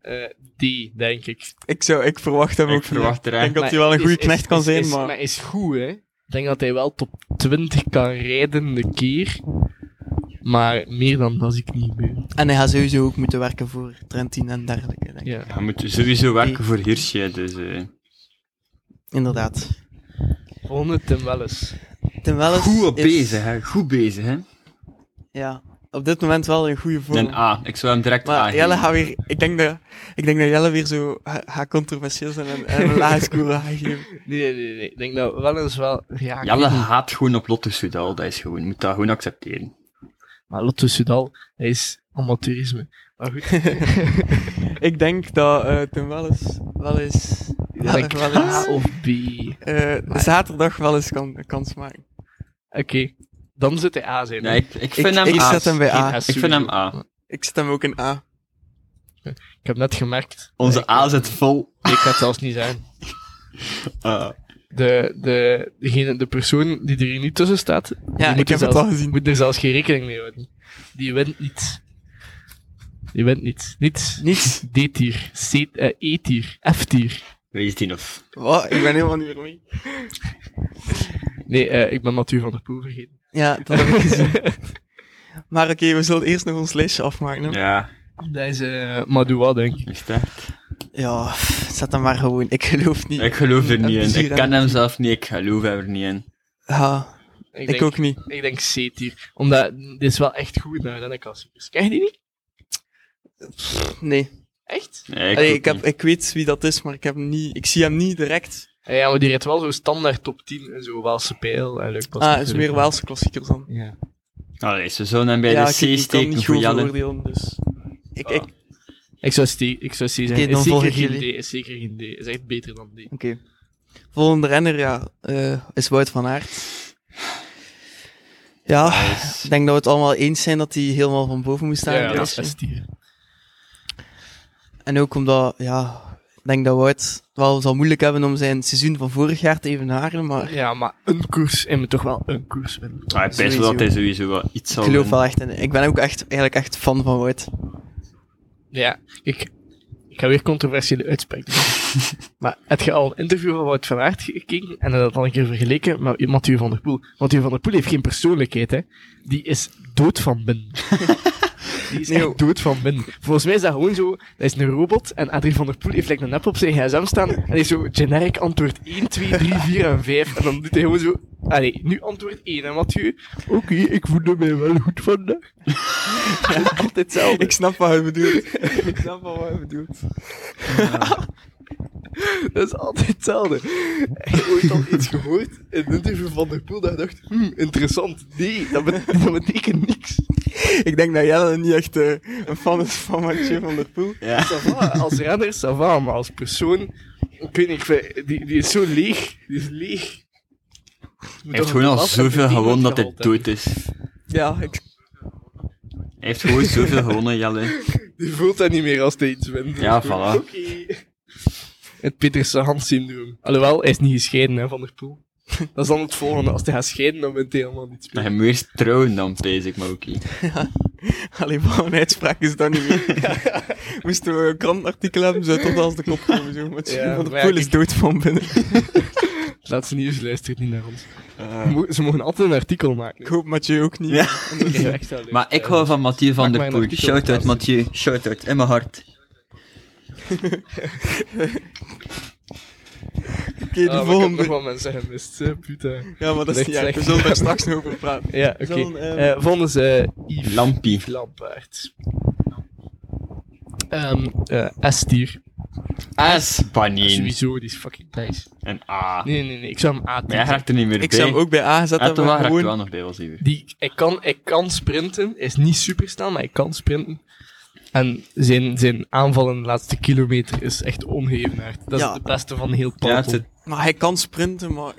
eh, die, denk ik.
Ik, zou, ik verwacht hem
Ik
ook niet.
verwacht er
Ik denk dat
Maar
hij wel een
is-
goede
is-
knecht kan
is-
zijn,
is-
maar...
Maar is goed, hè. Ik denk dat hij wel top 20 kan rijden de keer. Maar meer dan dat zie ik niet meer.
En hij gaat sowieso ook moeten werken voor Trentin en dergelijke, denk ik.
Ja.
Hij moet sowieso werken voor Hirsje, dus... eh,
Inderdaad.
Volgende Tim Welles.
Tim Welles
Goed op
is-
bezig, hè. Goed bezig, hè.
Ja, op dit moment wel een goede vorm.
Een A. Ik zou hem direct A
Maar
geven.
Jelle gaat weer... Ik denk dat, ik denk dat Jelle weer zo ga- gaat controversieel zijn en, en een lage score gaat geven.
Nee, nee, nee, nee. Ik denk dat Welles wel... Ja, ik
Jelle
weet niet.
haat gewoon op Lotte Soudal. Dat is gewoon... Je moet dat gewoon accepteren.
Maar Lotto Soudal, hij is amateurisme. Maar goed, ik
Ik denk dat eh Tim Welles wel eens...
denk
wel eens
A of B.
eh, zaterdag wel eens kan, een kans maken.
Oké, dan zit hij A zijn.
Nee, ik, ik vind
ik,
hem
ik
A.
zet hem bij A.
Ik vind hem ah. A.
Ik zet hem ook in A.
Ik heb net gemerkt.
Onze A zit vol. Ah.
Nee, ik ga het zelfs niet zijn.
A.
De, de, degene, de persoon die er hier niet tussen staat,
Ja,
moet er
ik heb het
zelfs-
al gezien.
moet er zelfs geen rekening mee houden. Die wint niet. Die wint niet. Niet
Niets.
D-tier, C- eh, E-tier, F-tier.
Wees die of...
Wat? Ik ben helemaal niet meer mee.
Nee, eh, ik ben Mathieu van der Poel vergeten.
Ja, dat heb ik gezien. maar oké, we zullen eerst nog ons lijstje afmaken. Hè? Ja.
Ja,
Dat is eh Madoua, denk ik.
is dat?
pff, zet hem maar gewoon. Ik geloof niet.
Ik geloof er
En
niet in.
plezier,
Ik
hè.
ken hem zelf niet, ik geloof hem er niet in.
Ja,
Ik,
ik,
denk,
ook niet.
ik denk C-tier. Omdat, dit is wel echt goed naar rennenklassiekers. Ken je die niet?
Nee.
Echt?
Ik,
Nee, ik
Allee,
ook
ik, heb,
niet.
ik weet wie dat is, maar ik, heb hem niet, ik zie hem niet direct.
Eh, Ja, maar die rijdt wel zo standaard top 10 en zo Waalse pijl en leuk pas.
ah, is meer Waalse klassiekers dan.
Ja.
Allee, ze zouden hem bij
ja,
de
ik, ik
C
kan
steken
niet
voor
goed
Jelle.
veroordelen, dus... Ik, ik, Oké.
Ik zou, C, ik zou C zeggen.
Oké, dan
is
volg
zeker
ik
geen
jullie.
D. Is zeker geen D. Is echt beter dan D.
Volgende renner, ja, eh, is Wout van Aert. Ja,
Nice.
ik denk dat we het allemaal eens zijn dat hij helemaal van boven moest staan. in het
ja, dat
lijstje.
is S-tier.
En ook omdat, ja, ik denk dat Wout het wel zal moeilijk hebben om zijn seizoen van vorig jaar te evenaren, maar
Ja, maar een koers. En moet toch wel een koers winnen.
Ah, ik weet wel dat hij sowieso wel iets
ik
zal
geloof
doen.
wel echt in. Ik ben ook echt, eigenlijk echt fan van Wout.
Ja, ik, ik ga weer controversiële uitspraken doen. maar heb je al een interview van Wout van Aert gekeken en dat dan een keer vergeleken met Mathieu van der Poel? Mathieu van der Poel heeft geen persoonlijkheid, hè. Die is dood van binnen. Die is
Nee,
echt
joh.
dood van binnen. Volgens mij is dat gewoon zo, dat is een robot en Adrie van der Poel heeft like, een app op zijn gsm staan en hij is zo generic antwoord 1, 2, 3, 4 en 5 en dan doet hij gewoon zo, allee, nu antwoord 1 hè Mathieu. Oké, ik voelde mij wel goed vandaag. Altijd hetzelfde.
Ik snap wat hij bedoelt. ik snap wel wat hij bedoelt.
Dat is altijd hetzelfde. Heb je ooit al iets gehoord in een interview van der Poel dat je dacht, hmm, interessant. Nee, dat, bet- dat betekent niks.
Ik denk dat Jelle niet echt eh, een fan is van Mathieu van der Poel.
Ja.
Ça va, als renner, ça va, maar als persoon, ik weet niet, ik vind- die, die is zo leeg. Die is leeg.
Hij heeft gewoon al zoveel gewonnen dat hij dood is. Hij
Ja, ik,
heeft gewoon zoveel gewonnen, Jelle.
Die voelt dat niet meer als hij iets wint.
Ja,
Dat is gewoon,
voilà.
oké. Het Peterse Hans-syndroom. Alhoewel, hij is niet gescheiden hè, van der Poel. Dat is dan het volgende. Als hij gaat scheiden, dan wint hij helemaal niets
Maar
meer.
hij moet eerst trouwen dan, pees ik, maar ook niet.
alleen van een uitspraak is dat niet meer. Moesten we een krantartikel hebben, zou het tot als de kop komen. Zo. Mathieu
Ja,
van der
maar ja,
Poel is
ik-
dood van binnen.
Het laatste nieuws luistert niet naar ons. Mo- Ze mogen altijd een artikel maken.
Ik hoop Mathieu ook niet.
Ja. Maar
Maar
ik hou van Mathieu van
Maak
der
maar een
Poel.
artikel
Shout-out
plaatsen.
Mathieu, shout-out, in mijn hart.
Oké,
Ah, ik
de
heb nog
volgende.
wel mensen gemist, eh, puta.
Ja, maar dat is
Echt
niet erg. We
slecht.
zullen daar straks nog over praten.
Ja, oké.
Zo'n, ehm,
Eh, volgende is eh, Yves
Lampie.
Lampaard. Ehm eh S-tier.
Ah,
S. Banien.
Sowieso, die is fucking nice.
Een A.
Nee, nee, nee, ik zou hem A
Maar hij raakt er niet meer bij.
Ik zou hem ook bij A gezet
Ja,
hebben.
Ah, toch wel,
maar
hij raakt er wel
Gewoon...
nog bij, was hij weer.
Die, hij, kan, hij kan sprinten, hij is niet super snel, maar hij kan sprinten. En zijn, zijn aanval in de laatste kilometer is echt ongeëvenaard. Dat
Ja.
is het beste van heel
Ja, het
peloton.
zit-
Maar hij kan sprinten, maar...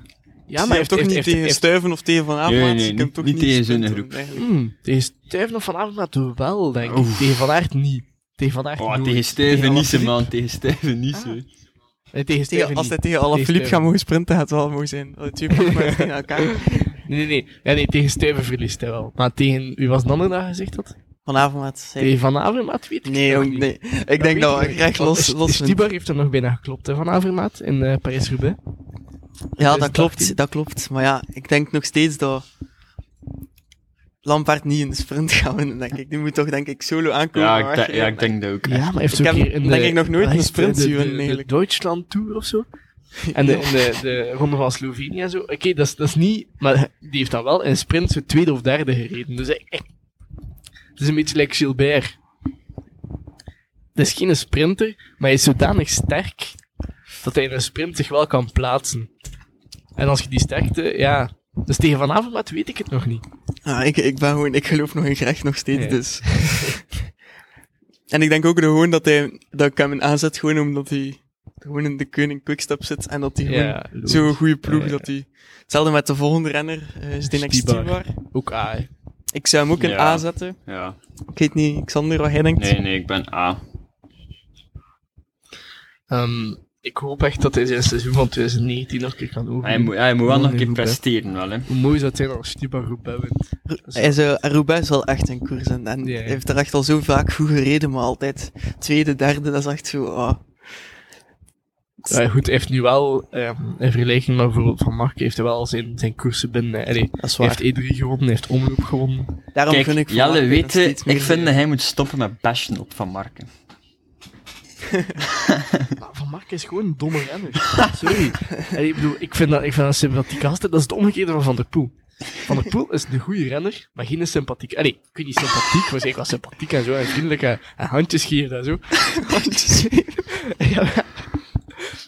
Ja,
hij heeft toch niet tegen
heeft-
Stuiven of tegen Van Avermaet?
Nee, nee,
Je kunt
niet-
toch
niet tegen zijn
sprinten,
groep.
eigenlijk.
Hmm, tegen Stuyven of Van Avermaet wel, denk ik.
Oef.
Tegen Van Aert niet. Tegen Van Aert
Oh,
nooit.
tegen Steven
Tegen
Nissen,
Alaphilippe-
man. Tegen Steven
Ah,
Nissen.
Nee, tegen
Tegen-
Steven
als hij
niet.
tegen Alaphilippe
Tegen
gaat mogen sprinten, gaat het wel mooi zijn. Dat twee ploegen tegen elkaar.
Nee, nee, nee. Ja, nee, tegen Stuyven verliest hij wel. Maar tegen... Wie was de andere dat gezegd had?
Van Avermaat, zeker.
Tegen Van Avermaat weet ik
Nee,
het nog
jong,
niet.
nee. Ik denk dat we recht los, los zijn.
Stibar heeft hem nog bijna geklopt, hè, Van Avermaat, in eh, Parijs-Roubaix.
Ja, dat
2018.
klopt, dat klopt. Maar ja, ik denk nog steeds dat Lampaard niet in de sprint gaat winnen, denk ik. Die moet toch, denk ik, solo aankomen.
Ja,
maar
ik, denk- ja,
wegrijden.
ik denk dat ook.
Ja, maar hij heeft
Ik
ook
heb,
hier in
denk
de,
ik, nog nooit
hij
een
heeft
sprint
de-
zien
de-
winnen,
de
eigenlijk.
Deutschland Tour of zo. En de, en de, de Ronde van Slovenië en zo. Oké, dat, is, dat is niet... Maar die heeft dan wel in sprint zo tweede of derde gereden. Dus ik- ik- het is een beetje like Gilbert. Dat is geen sprinter, maar hij is zodanig sterk dat hij in een sprint zich wel kan plaatsen. En als je die sterkte... Ja... Dus tegen vanavond, maar weet ik het nog niet.
Ah, ik, ik ben gewoon, ik geloof nog in Greg nog steeds,
Ja.
dus. en ik denk ook dat gewoon dat hij, dat ik hem in aanzet gewoon omdat hij gewoon in de koning quickstep zit en dat hij gewoon
Ja,
zo'n goede ploeg
Ja, ja.
dat hij... Hetzelfde met de volgende renner, eh Zdenek
Stibar.
Stibar.
Ook A. hè.
Ik zou hem ook in
Ja.
A zetten.
Ja.
Ik weet niet, Xander, wat jij denkt.
Nee, nee, ik ben ah. A.
Ehm, ik hoop echt dat hij zijn seizoen van 2019 nog een keer kan over.
Hij moet, hij moet wel
Gewoon
nog een keer
goed, hè.
presteren, wel, hè.
Hoe mooi zou het zijn als Stibar goed bij wint?
Hij zou, Roubaix is wel echt een koers en, en
Ja, ja.
hij heeft er echt al zo vaak goed gereden, maar altijd tweede, derde, dat is echt zo... ah.
Ja, goed, hij heeft nu wel, ehm, in vergelijking met bijvoorbeeld Van Mark, heeft hij wel zijn, zijn koersen binnen. Allee,
dat is
hij
waar.
heeft E3 gewonnen, hij heeft Omloop gewonnen.
Daarom
Kijk,
vind ik... Van
Jelle,
Aert
weet
nog
je,
steeds
ik
meer-
vind dat hij moet stoppen met bashen op Van Marken.
Maar Van Mark is gewoon een domme renner. Sorry. Allee, ik bedoel, ik vind dat, ik vind dat een sympathieke gast. Dat is het omgekeerde van Van der Poel. Van der Poel is een goede renner, maar geen sympathiek. Allee, ik weet niet sympathiek, maar zeker wel sympathiek en zo, en vriendelijk en, en handjes geven en zo. Ja, maar...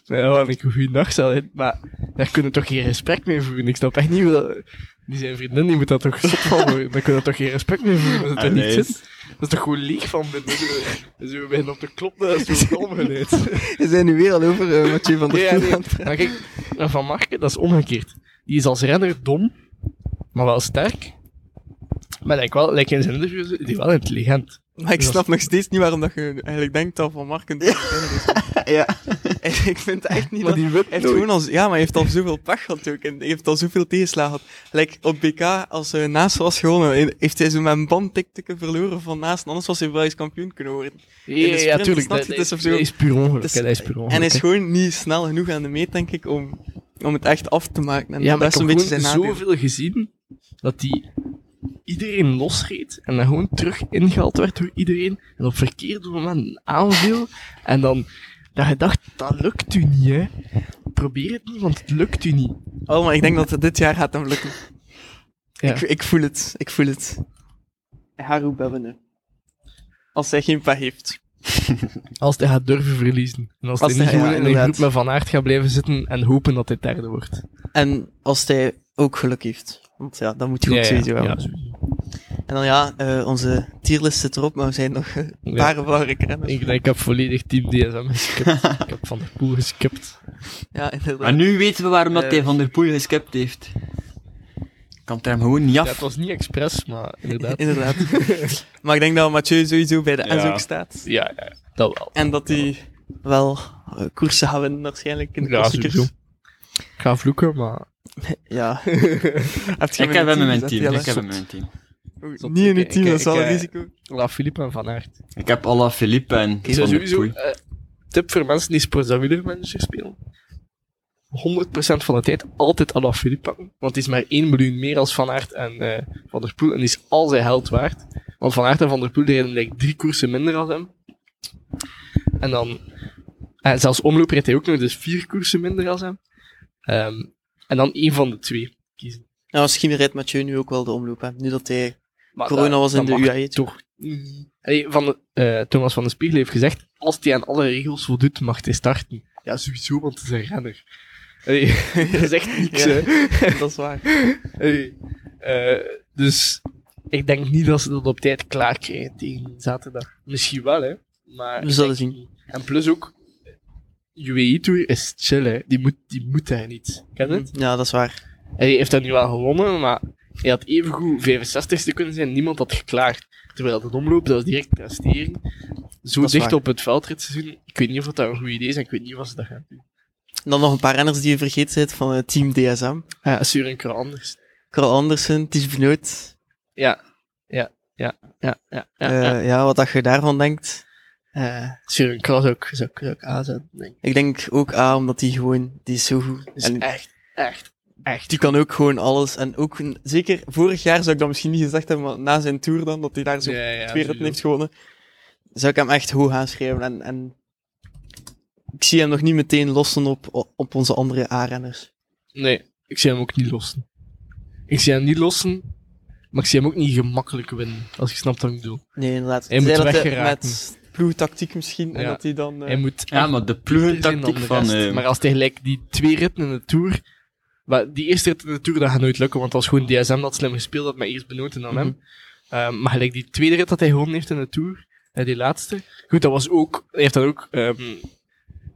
Ja, wat een goede nacht zal het, maar daar kunnen we toch geen respect mee voeren. Ik snap echt niet hoe Die zijn vriendin, die moet dat toch zot van worden. Daar kunnen we toch geen respect mee voeren als het er
Ah,
niet
nee.
zit. Dat is toch gewoon leeg van binnen. Zo- Zo we beginnen op de klop, dat is zo'n omgeleid.
We zijn nu weer al over eh, Mathieu van der
Ja,
Poel
nee.
aan het praten.
Maar kijk, en Van Marken, dat is omgekeerd. Die is als renner dom, maar wel sterk. Maar lijkt wel, lijkt in zijn interviews, die wel intelligent.
Maar ik
Ja.
snap nog steeds niet waarom dat je eigenlijk denkt dat Van Marken...
Ja.
ik vind echt niet
Maar
dat...
die wint
Hij heeft
nooit.
gewoon als, ja, maar hij heeft al zoveel pech gehad ook. En hij heeft al zoveel tegenslagen gehad. Like, op BK, als hij naast was gewonnen, heeft hij zo met een bandtiktikken verloren van naast. Anders was hij wel eens kampioen kunnen worden.
Ja,
de
ja,
sprint,
tuurlijk.
snap
Dat,
je,
dat
het
is,
is of zo.
dat is puur ongeluk.
Dus-
hè, dat is puur ongeluk.
En hij is
hè.
gewoon niet snel genoeg aan de meet, denk ik, om, om het echt af te maken. En
Ja, maar
dat
ik
is een
heb
beetje
gewoon
zijn nadeel.
zoveel gezien dat die iedereen losreed en dan gewoon terug ingehaald werd door iedereen en op verkeerde moment aanviel en dan dat je dacht, dat lukt u niet, hè. Probeer het niet, want het lukt u niet.
Oh, maar ik denk dat het dit jaar gaat hem lukken.
Ja.
Ik, ik voel het, ik voel het. Haru Bebbene. Als hij geen pa heeft.
Als hij gaat durven verliezen. En als,
Als
hij niet
hij- ja,
gewoon in een
inderdaad.
groep met Van Aert gaat blijven zitten en hopen dat hij derde wordt.
En als hij ook geluk heeft. Want ja, dat moet je ook sowieso hebben.
ja, sowieso.
En dan ja, eh, onze tierlist zit erop, maar we zijn nog eh, een
Ja.
paar belangrijke renners.
Ik, denk, ik heb volledig Team DSM geskipt. ik heb Van der Poel geskipt.
Ja, inderdaad.
Maar nu weten we waarom dat
Eh.
hij Van der Poel geskipt heeft. Ik kan het hem gewoon niet
Ja,
af.
het was niet expres, maar inderdaad.
Inderdaad. maar ik denk dat Mathieu sowieso bij de
Ja.
Enzo staat.
Ja, ja, dat wel.
En dat hij wel eh, koersen gaat winnen waarschijnlijk in de
Ja,
klassiekers.
sowieso. Ik ga vloeken, maar...
Ja. Heb je
Ik heb hem in mijn
gezet,
team.
Jelle?
Ik heb hem in mijn team.
Oei,
Zot.
Niet in je
Ik-
team,
ik-
dat is wel
ik,
een
eh,
risico.
La Philippe en Van Aert.
Ik heb Alla Philippe en
Ik
Van
zou
der
sowieso...
Poel.
eh, tip voor mensen die sports- en wielermanager spelen. 100% van de tijd altijd Alain Philippe pakken. Want die is maar 1 miljoen meer als Van Aert en eh, Van der Poel. En die is al zijn held waard. Want Van Aert en Van der Poel die rijden like, drie koersen minder als hem. En dan... En zelfs omloop rijdt hij ook nog, dus vier koersen minder als hem. Ehm, en dan één van de twee kiezen.
Nou, misschien rijdt Mathieu nu ook wel de omloop, hè. Nu dat hij
Maar
corona
dat-
was in
dat
de E.
mag
UAE.
toch. Allee, van de- eh, Thomas van den Spiegel heeft gezegd: als hij aan alle regels voldoet, mag hij starten. Ja, sowieso, want het is een renner. Allee, dat is echt niks,
Ja.
hè.
dat is waar.
Allee, eh, dus ik denk niet dat ze dat op tijd klaar krijgen tegen zaterdag. Misschien wel, hè. Maar
We
ik
zullen
denk
zien.
niet. En plus ook, UAE Tour is chill, hè. Die moet, die moet daar niet. Ken je het?
Ja, dat is waar.
Hij heeft dat nu wel gewonnen, maar hij had evengoed 65ste kunnen zijn. Niemand had geklaagd. Terwijl de omloop, dat was direct presteren. Zo
Dat is
dicht
waar.
op het veldritseizoen. Ik weet niet of dat een goed idee is en ik weet niet of ze dat gaan doen.
En dan nog een paar renners die je vergeten zit van het team DSM.
Ja, Surin kan anders.
Carl Andersen, Ties Benoot.
Ja, ja.
Ja, ja,
ja,
Eh, ja. wat dat je daarvan denkt. Eh,
Sure, ik was ook, zou, zou ik A zijn. Nee.
ik denk ook A, omdat die gewoon, die is zo goed.
Dus
en
echt, echt, echt.
die kan ook gewoon alles. En ook, een- zeker vorig jaar zou ik dat misschien niet gezegd hebben, maar na zijn tour dan, dat hij daar zo
Ja, ja,
twee
sowieso.
ritten heeft gewonnen, zou ik hem echt hoog aanschrijven. En, en ik zie hem nog niet meteen lossen op, op onze andere A-renners.
Nee, ik zie hem ook niet lossen. Ik zie hem niet lossen, maar ik zie hem ook niet gemakkelijk winnen. Als je snapt wat ik bedoel.
Nee, inderdaad.
Hij moet
Zij dat
weggeraken.
Met ploegtactiek misschien, en
Ja.
dat hij dan... eh,
Hij moet
Ja, maar de ploegentactiek van... eh,
maar als hij gelijk die twee ritten in de Tour... Maar die eerste rit in de Tour, dat gaat nooit lukken, want dat was gewoon DSM dat slim gespeeld had, maar eerst benoten dan hem. Ehm, maar gelijk die tweede rit dat hij gewonnen heeft in de Tour, eh, die laatste... Goed, dat was ook... Hij heeft dan ook ehm,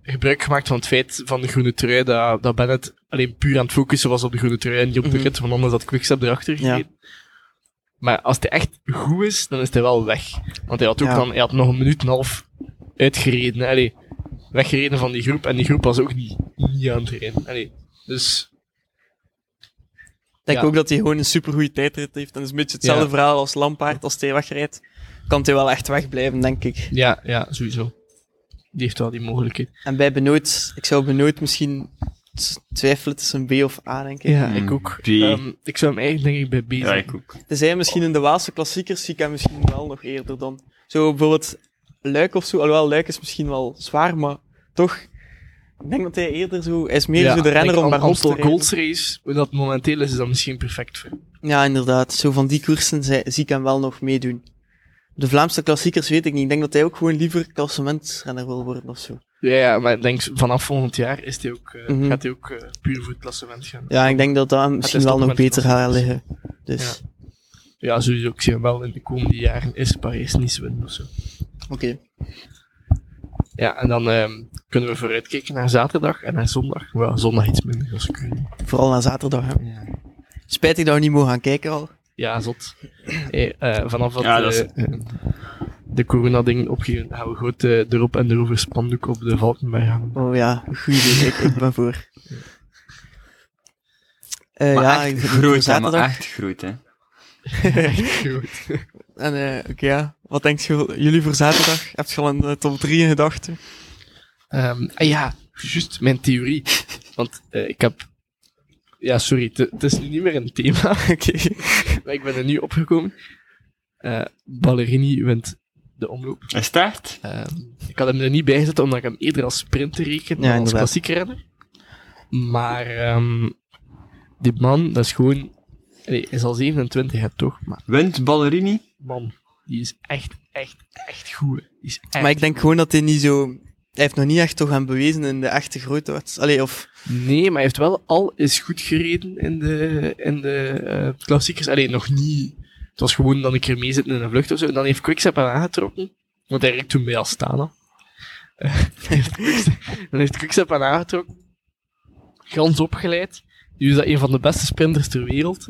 gebruik gemaakt van het feit van de groene trui, dat, dat Bennett alleen puur aan het focussen was op de groene trui en niet op de
Mhm.
rit, want anders had Quickstep erachter
Ja.
gereden. Maar als hij echt goed is, dan is hij wel weg. Want hij had ook
Ja.
dan, hij had nog een minuut en een half uitgereden. hè. Allee, weggereden van die groep. En die groep was ook niet, niet aan het rijden. Allee, dus
Ik denk
Ja.
ook dat hij gewoon een supergoeie tijdrit heeft. En dat is een beetje hetzelfde
Ja.
verhaal als Lampaard. Als hij wegrijdt, kan hij wel echt wegblijven, denk ik.
ja, ja, sowieso. Die heeft wel die mogelijkheid.
En bij Benoot, ik zou Benoot misschien t- twijfelen tussen B of A, denk ik.
Ja,
Mm,
ik ook.
B.
Ehm, ik zou hem eigenlijk denk ik bij B
ja,
zijn.
ik ook.
Dus hij misschien in de Waalse klassiekers zie ik hem misschien wel nog eerder dan. Zo bijvoorbeeld Luik of zo. Alhoewel, Luik is misschien wel zwaar, maar toch... Ik denk dat hij eerder zo... Hij is meer
Ja,
zo de renner
denk
om
Am-
maar op te
Amstel
rijden.
Gold Race, hoe dat momenteel is, is dat misschien perfect voor hem.
Ja, inderdaad. Zo van die koersen zi- zie ik hem wel nog meedoen. De Vlaamse klassiekers weet ik niet. Ik denk dat hij ook gewoon liever klassementsrenner wil worden of zo.
Ja, ja, maar ik denk vanaf volgend jaar is hij ook, eh,
Mhm.
gaat hij ook eh, puur voor het klassement gaan. Ja,
Ja, ik denk dat dat hem misschien wel
toch
nog
met de
beter gaat liggen. Dus,
sowieso. Ik zie hem wel in de komende jaren is Parijs niet winnen of zo.
oké.
Ja, en dan ehm, kunnen we vooruitkijken naar zaterdag en naar zondag. Wel, zondag iets minder als ik weet.
Vooral na zaterdag. hè.
Ja.
Spijtig dat we niet mogen gaan kijken al.
Ja, zot. Hey, eh, vanaf dat,
Ja, dat is-
eh, eh, de corona-ding opgegeven, gaan we goed eh, erop en erover spandoek op de Valkenberg hangen.
Oh ja, goed idee. ik, ik ben voor. Eh,
Maar
ja, ik
echt
ben voor
groot, hè, maar
zaterdag.
echt groot, hè.
Goed.
En eh, oké, ja. Wat denkt je- jullie voor zaterdag? Heb je al een eh, top 3 in gedachten?
Ehm, ah ja, juist mijn theorie. Want eh, ik heb... Ja, sorry, het- het is nu niet meer een thema,
Oké.
maar ik ben er nu opgekomen. Eh, Ballerini wint de omloop.
Is het echt?
Ehm, ik had hem er niet bij gezet, omdat ik hem eerder als sprinter reken dan
Ja,
als
inderdaad.
klassiek renner. Maar ehm, die man, dat is gewoon... Nee, hij is al 27, hè, toch? Maar
Wint Ballerini?
man, die is echt, echt, echt goed. hè. Die is echt...
Maar ik denk gewoon dat hij niet zo... Hij heeft nog niet echt toch aan bewezen in de echte grote wedstrijd. Allee, of...
Nee, maar hij heeft wel al eens goed gereden in de, in de eh, klassiekers. Alleen nog niet. Het was gewoon dan een keer mee zitten in een vlucht of zo. En dan heeft Quickstep hem aangetrokken. Want hij reed toen bij Astana. Eh, heeft Quickstep- dan heeft Quickstep hem aangetrokken. Gans opgeleid. Nu is dat een van de beste sprinters ter wereld.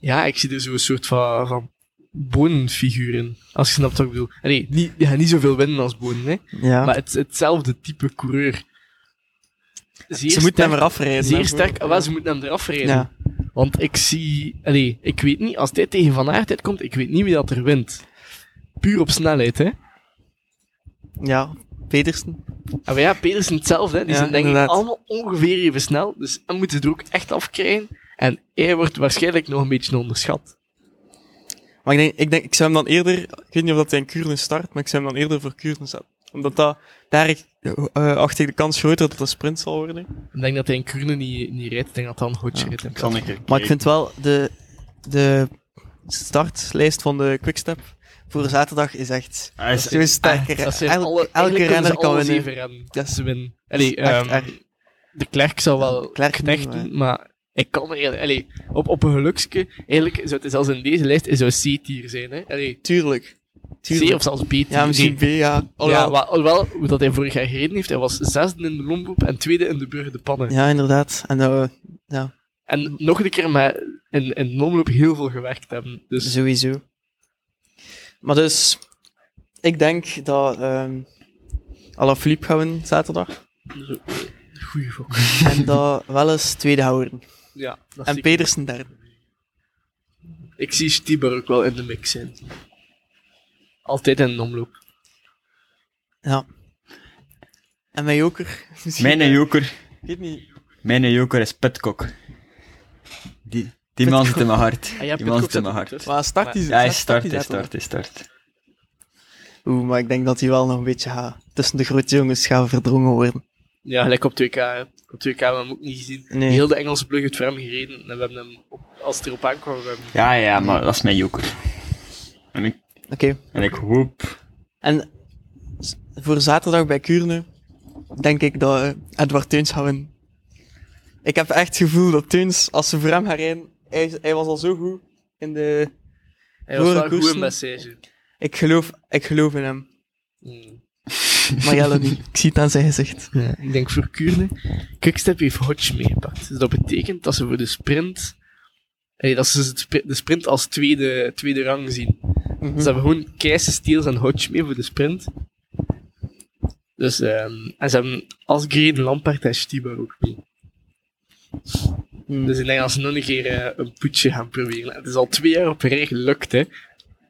Ja, ik zie er zo'n soort van, van bonenfiguur in. Als je snapt wat ik bedoel. Nee, niet, ja, niet zoveel winnen als bonen, hè.
ja.
Maar het, hetzelfde type coureur. Zeer
ze moeten
sterk-
hem eraf rijden. hè,
Zeer
voor-
sterk, wel, ze moeten hem eraf rijden.
Ja.
Want ik zie, allee, ik weet niet, als dit tegen Van Aert komt, ik weet niet wie dat er wint. Puur op snelheid, hè.
ja, Petersen.
Ah, Maar ja, Pedersen hetzelfde, hè. Die
Ja,
zijn denk ik
inderdaad.
allemaal ongeveer even snel, dus dan moeten ze er ook echt afkrijgen. En hij wordt waarschijnlijk nog een beetje onderschat.
Maar ik denk, ik denk, ik zou hem dan eerder... Ik weet niet of dat hij in Kuurne start, maar ik zou hem dan eerder voor Kuurne zetten. Omdat dat, daar eh, acht ik de kans groter dat het een sprint zal worden.
Ik denk dat hij in Kroenen niet, niet rijdt, ik denk dat hij een goedje rijdt. in plaats
Kan
van-
ik er
Maar ik
kijken.
vind wel, de, de startlijst van de Quickstep voor zaterdag is echt
Hij is-
zo sterker.
Ah, Dat zijn
Elk-
alle,
elke renner kan
we
winnen.
Zeven rennen.
Ja.
Ze winnen. Allee,
Echt
ehm,
erg.
de klerk zal wel
Klerk
knechten,
niet,
maar ik kan er eigenlijk... Allee, op, op een gelukske, eigenlijk zou het zelfs in deze lijst hij zou C-tier zijn. Hè? Allee,
Tuurlijk.
C
Tuurlijk.
of zelfs B-tier.
Ja, misschien B, ja.
Ja,
Alhoewel-
maar, alhoewel, hoe dat hij vorig jaar gereden heeft, hij was zesde in de Lomboep en tweede in de Burger de Pannen.
ja inderdaad. En eh,
En nog een keer met in, in de Omloop heel veel gewerkt hebben. Dus
Sowieso. Maar dus, ik denk dat ehm Alaphilippe gaan winnen zaterdag.
goeie gok.
en dat Welles tweede gaan worden.
Ja, dat is
En
zeker.
Pedersen derde.
Ik zie Stieber ook wel in de mix zijn. Altijd in een omloop.
Ja. En mijn joker? Misschien,
Mijn
eh,
joker,
Ik weet niet.
mijn joker is Pitcock. Die, die man zit in mijn hart.
Ah ja,
die
Pitcock
man zit in
zit
mijn
er
hart.
tussen.
Maar start die
Ja, hij
start
start,
die
hij
zetten.
start, hij start.
Oeh, maar ik denk dat hij wel nog een beetje gaat, tussen de grote jongens gaat verdrongen worden.
Ja, gelijk op 2K. hè. Op 2K hebben we hem ook niet gezien.
Nee.
Heel de Engelse plug heeft voor hem gereden. En we hebben hem, op, als het erop aankwam, we hebben hem
Ja, ja, maar dat is mijn joker. En ik,
Oké.
en ik hoop...
En s- voor zaterdag bij Kuurne denk ik dat eh, Edward Teuns gaat winnen. Ik heb echt het gevoel dat Teuns, als ze voor hem gaan rijden, hij, hij was al zo goed in de...
Hij was
Voor
wel
een
goed
koersen.
in message. Hmm.
Ik geloof, ik geloof in hem. Maar Jelle niet. Ik zie het aan zijn gezicht.
Ik denk voor Kuurne. Quickstep heeft Hodge meegepakt. Dus dat betekent dat ze voor de sprint. eh, dat ze het spri- de sprint als tweede, tweede rang zien. Dus ze hebben gewoon Keijse, Steels en Hodge mee voor de sprint. Dus, ehm, en ze hebben Asgreen, Lampard en Stieber ook mee.
Hmm.
Dus ik denk dat ze nog een keer eh, een putje gaan proberen. Het is al twee jaar op rij gelukt, hè.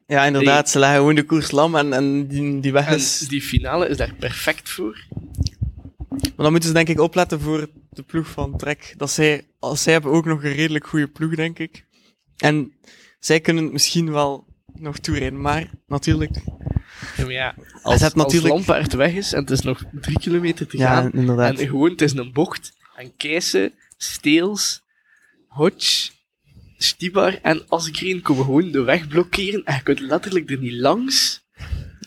Ja, inderdaad. Ze leggen gewoon de koers lam en, en die, die weg
En
is...
die finale is daar perfect voor.
Maar dan moeten ze denk ik opletten voor de ploeg van Trek. Dat zij, als zij hebben ook nog een redelijk goede ploeg, denk ik. En zij kunnen het misschien wel nog toerijden. Maar natuurlijk...
Ja, maar ja, als,
hebt
als
natuurlijk-
Lampaard weg is en het is nog drie kilometer te gaan,
inderdaad.
En gewoon, het is een bocht. En Keijsen, Steels, Hodge, Stibar en Asgreen komen gewoon de weg blokkeren. En je kunt letterlijk er niet langs.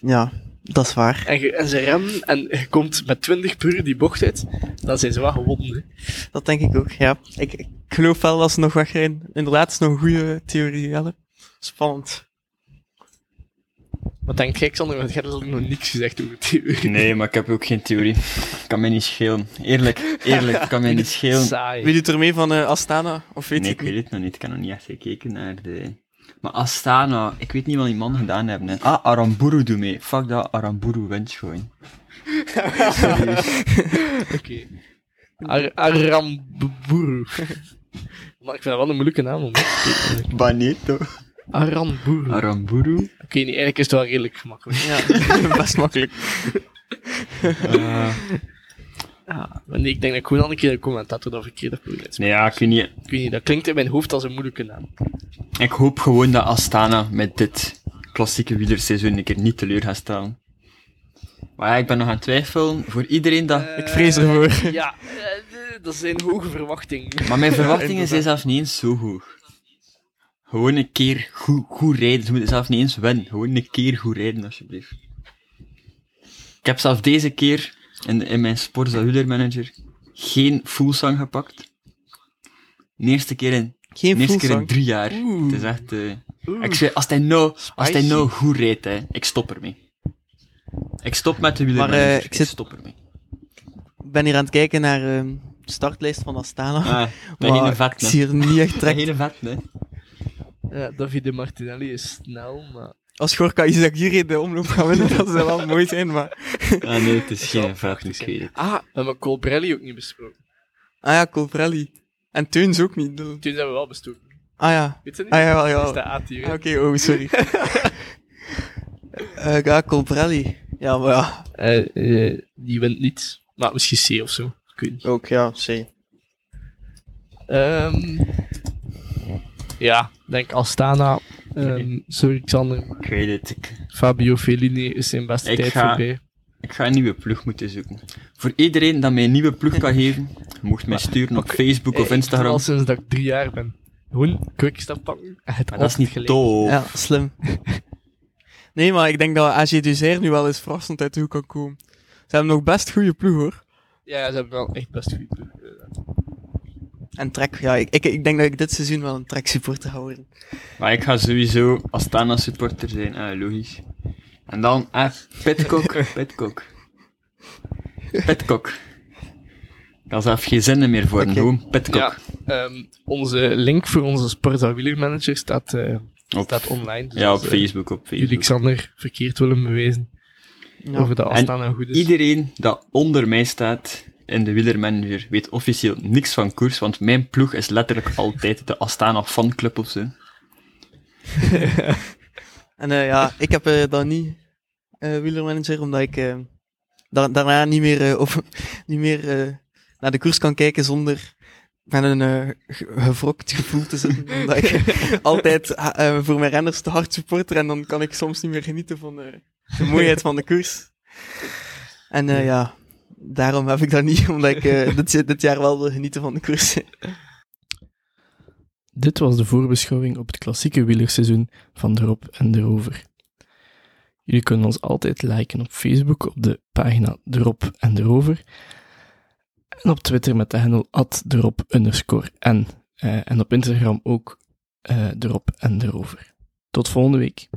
Ja, dat is waar.
En, je- en ze remmen en je komt met 20 per uur die bocht uit. Dan zijn ze wel gewonnen. hè.
Dat denk ik ook, ja. Ik, ik geloof wel dat ze nog wegrijden. Inderdaad, het is nog een goede theorie, Jelle. Spannend.
Wat denk jij, Xander? Want jij hebt nog niks gezegd over het uur.
Nee, maar ik heb ook geen theorie. Kan mij niet schelen. Eerlijk, eerlijk, kan mij niet schelen.
Saai.
Wie doet er mee van eh, Astana? Of weet
Nee,
je
ik
het niet?
weet het nog niet. Ik heb nog niet echt gekeken naar de... Maar Astana, ik weet niet wat die man gedaan hebben. hè. Ah, Aramburu doet mee. Fuck dat, Aramburu wint gewoon.
Oké. Ar- Aramburu. Maar ik vind dat wel een moeilijke naam om uit te spreken.
Baneto.
Aramburu. Oké,
Hm. Aramburu?
nee, eigenlijk is het wel redelijk gemakkelijk.
Ja, best makkelijk.
Eh,
Ja, maar nee, ik denk dat ik gewoon al een keer de commentator dat verkeerd heb proberen uit te
nee, ja, ik weet niet.
spreken. Ik weet niet, dat klinkt in mijn hoofd als een moeilijke naam.
Ik hoop gewoon dat Astana met dit klassieke wielerseizoen een keer niet teleur gaat staan. Maar ja, ik ben nog aan het twijfelen. Voor iedereen dat...
Ah,
Eh.
Ik vrees ervoor.
Ja, eh, dat zijn hoge verwachtingen.
Maar mijn verwachtingen zijn
inderdaad.
zelf niet eens zo hoog. Gewoon een keer goed, goed rijden. Ze moeten zelf niet eens winnen. Gewoon een keer goed rijden, alsjeblieft. Ik heb zelf deze keer in, in mijn Sporza Manager geen Fullsang gepakt. De eerste keer in, de
Geen
eerste keer in
Fuglsang.
drie jaar.
Oeh.
Het is echt... eh,
Oeh.
ik zweer, als hij nou, als hij
Spicy.
nou goed rijdt, hè, ik stop ermee. Ik stop met de
Maar, eh,
wielermanager.
ik
ik,
zit-
stop ermee.
Ik ben hier aan het kijken naar ehm, de startlijst van Astana.
Ah, bij
Maar
geen
ik
vet,
zie
hè.
er niet echt
Bij
trek.
geen vet, hè.
Ja, Davide eh, Martinelli is snel, maar...
Als Gorka Isagiri de omloop gaat winnen, dat zou wel mooi zijn, maar...
Ah nee, het is
zou
geen vet,
prachtig
ik weet het.
Ah, we hebben Colbrelli ook niet besproken.
Ah ja, Colbrelli. En Teuns ook niet. dus-
Toen zijn we wel bestoken.
Ah ja.
Weet je niet?
Ah ja, ja.
Dat is de A-tier.
Ah,
hè.
Oké, oh, sorry. Eh ja, Colbrelli. Ja, maar ja.
Eh, eh, die wint niet. Maar misschien C of zo. Ik weet niet.
Ook, ja, C.
Ehm, ja, ik denk Astana. ehm, sorry, Xander.
Ik weet het. Ik,
Fabio Fellini is zijn beste
Ik
tijd
ga-
voorbij.
ik ga een nieuwe ploeg moeten zoeken. Voor iedereen dat mij een nieuwe ploeg kan geven, mocht mij sturen op Facebook of
Eh, Ik doe
Instagram.
al sinds dat ik drie jaar ben. Gewoon quickstep pakken. en Het
Maar dat
altijd
is niet
gelijk.
doof.
Ja, slim. Nee, maar ik denk dat AG Duzer nu wel eens verrassend uit de hoek kan komen. Ze hebben nog best goede ploeg, hoor.
Ja, ze hebben wel echt best goed. eh,
En Trek, ja, ik, ik, ik denk dat ik dit seizoen wel een Trek supporter ga worden.
Maar ik ga sowieso Astana supporter zijn, ah, logisch. En dan, ah, Pitcock, Pitcock. Pitcock. Ik had zelf geen zinnen meer voor, hem,
Oké.
gewoon Pitcock.
Ja, ehm, onze link voor onze Sparta wielermanager staat, eh,
op,
staat online. Dus
ja, op
als, eh,
Facebook, op
Jullie
Facebook.
Xander verkeerd willen bewijzen
Ja.
over de afstand en goed is.
Iedereen dat onder mij staat in de wielermanager weet officieel niks van koers, want mijn ploeg is letterlijk altijd de Astana fanclub of zo.
En eh, ja, ik heb eh dan niet eh wielermanager, omdat ik eh, da- daarna niet meer, eh, op, niet meer eh, naar de koers kan kijken zonder met een eh, ge- gewrokt gevoel te zitten. omdat ik altijd ah, eh, voor mijn renners te hard supporter en dan kan ik soms niet meer genieten van eh, de mooiheid van de koers. En eh, ja, daarom heb ik dat niet, omdat ik eh, dit, dit jaar wel wil genieten van de koers.
Dit was de voorbeschouwing op het klassieke wielerseizoen van de Rob en de Rover. Jullie kunnen ons altijd liken op Facebook op de pagina De Rob en de Rover. En op Twitter met de handle at de Rob underscore N. Eh, en op Instagram ook eh de Rob en de Rover. Tot volgende week.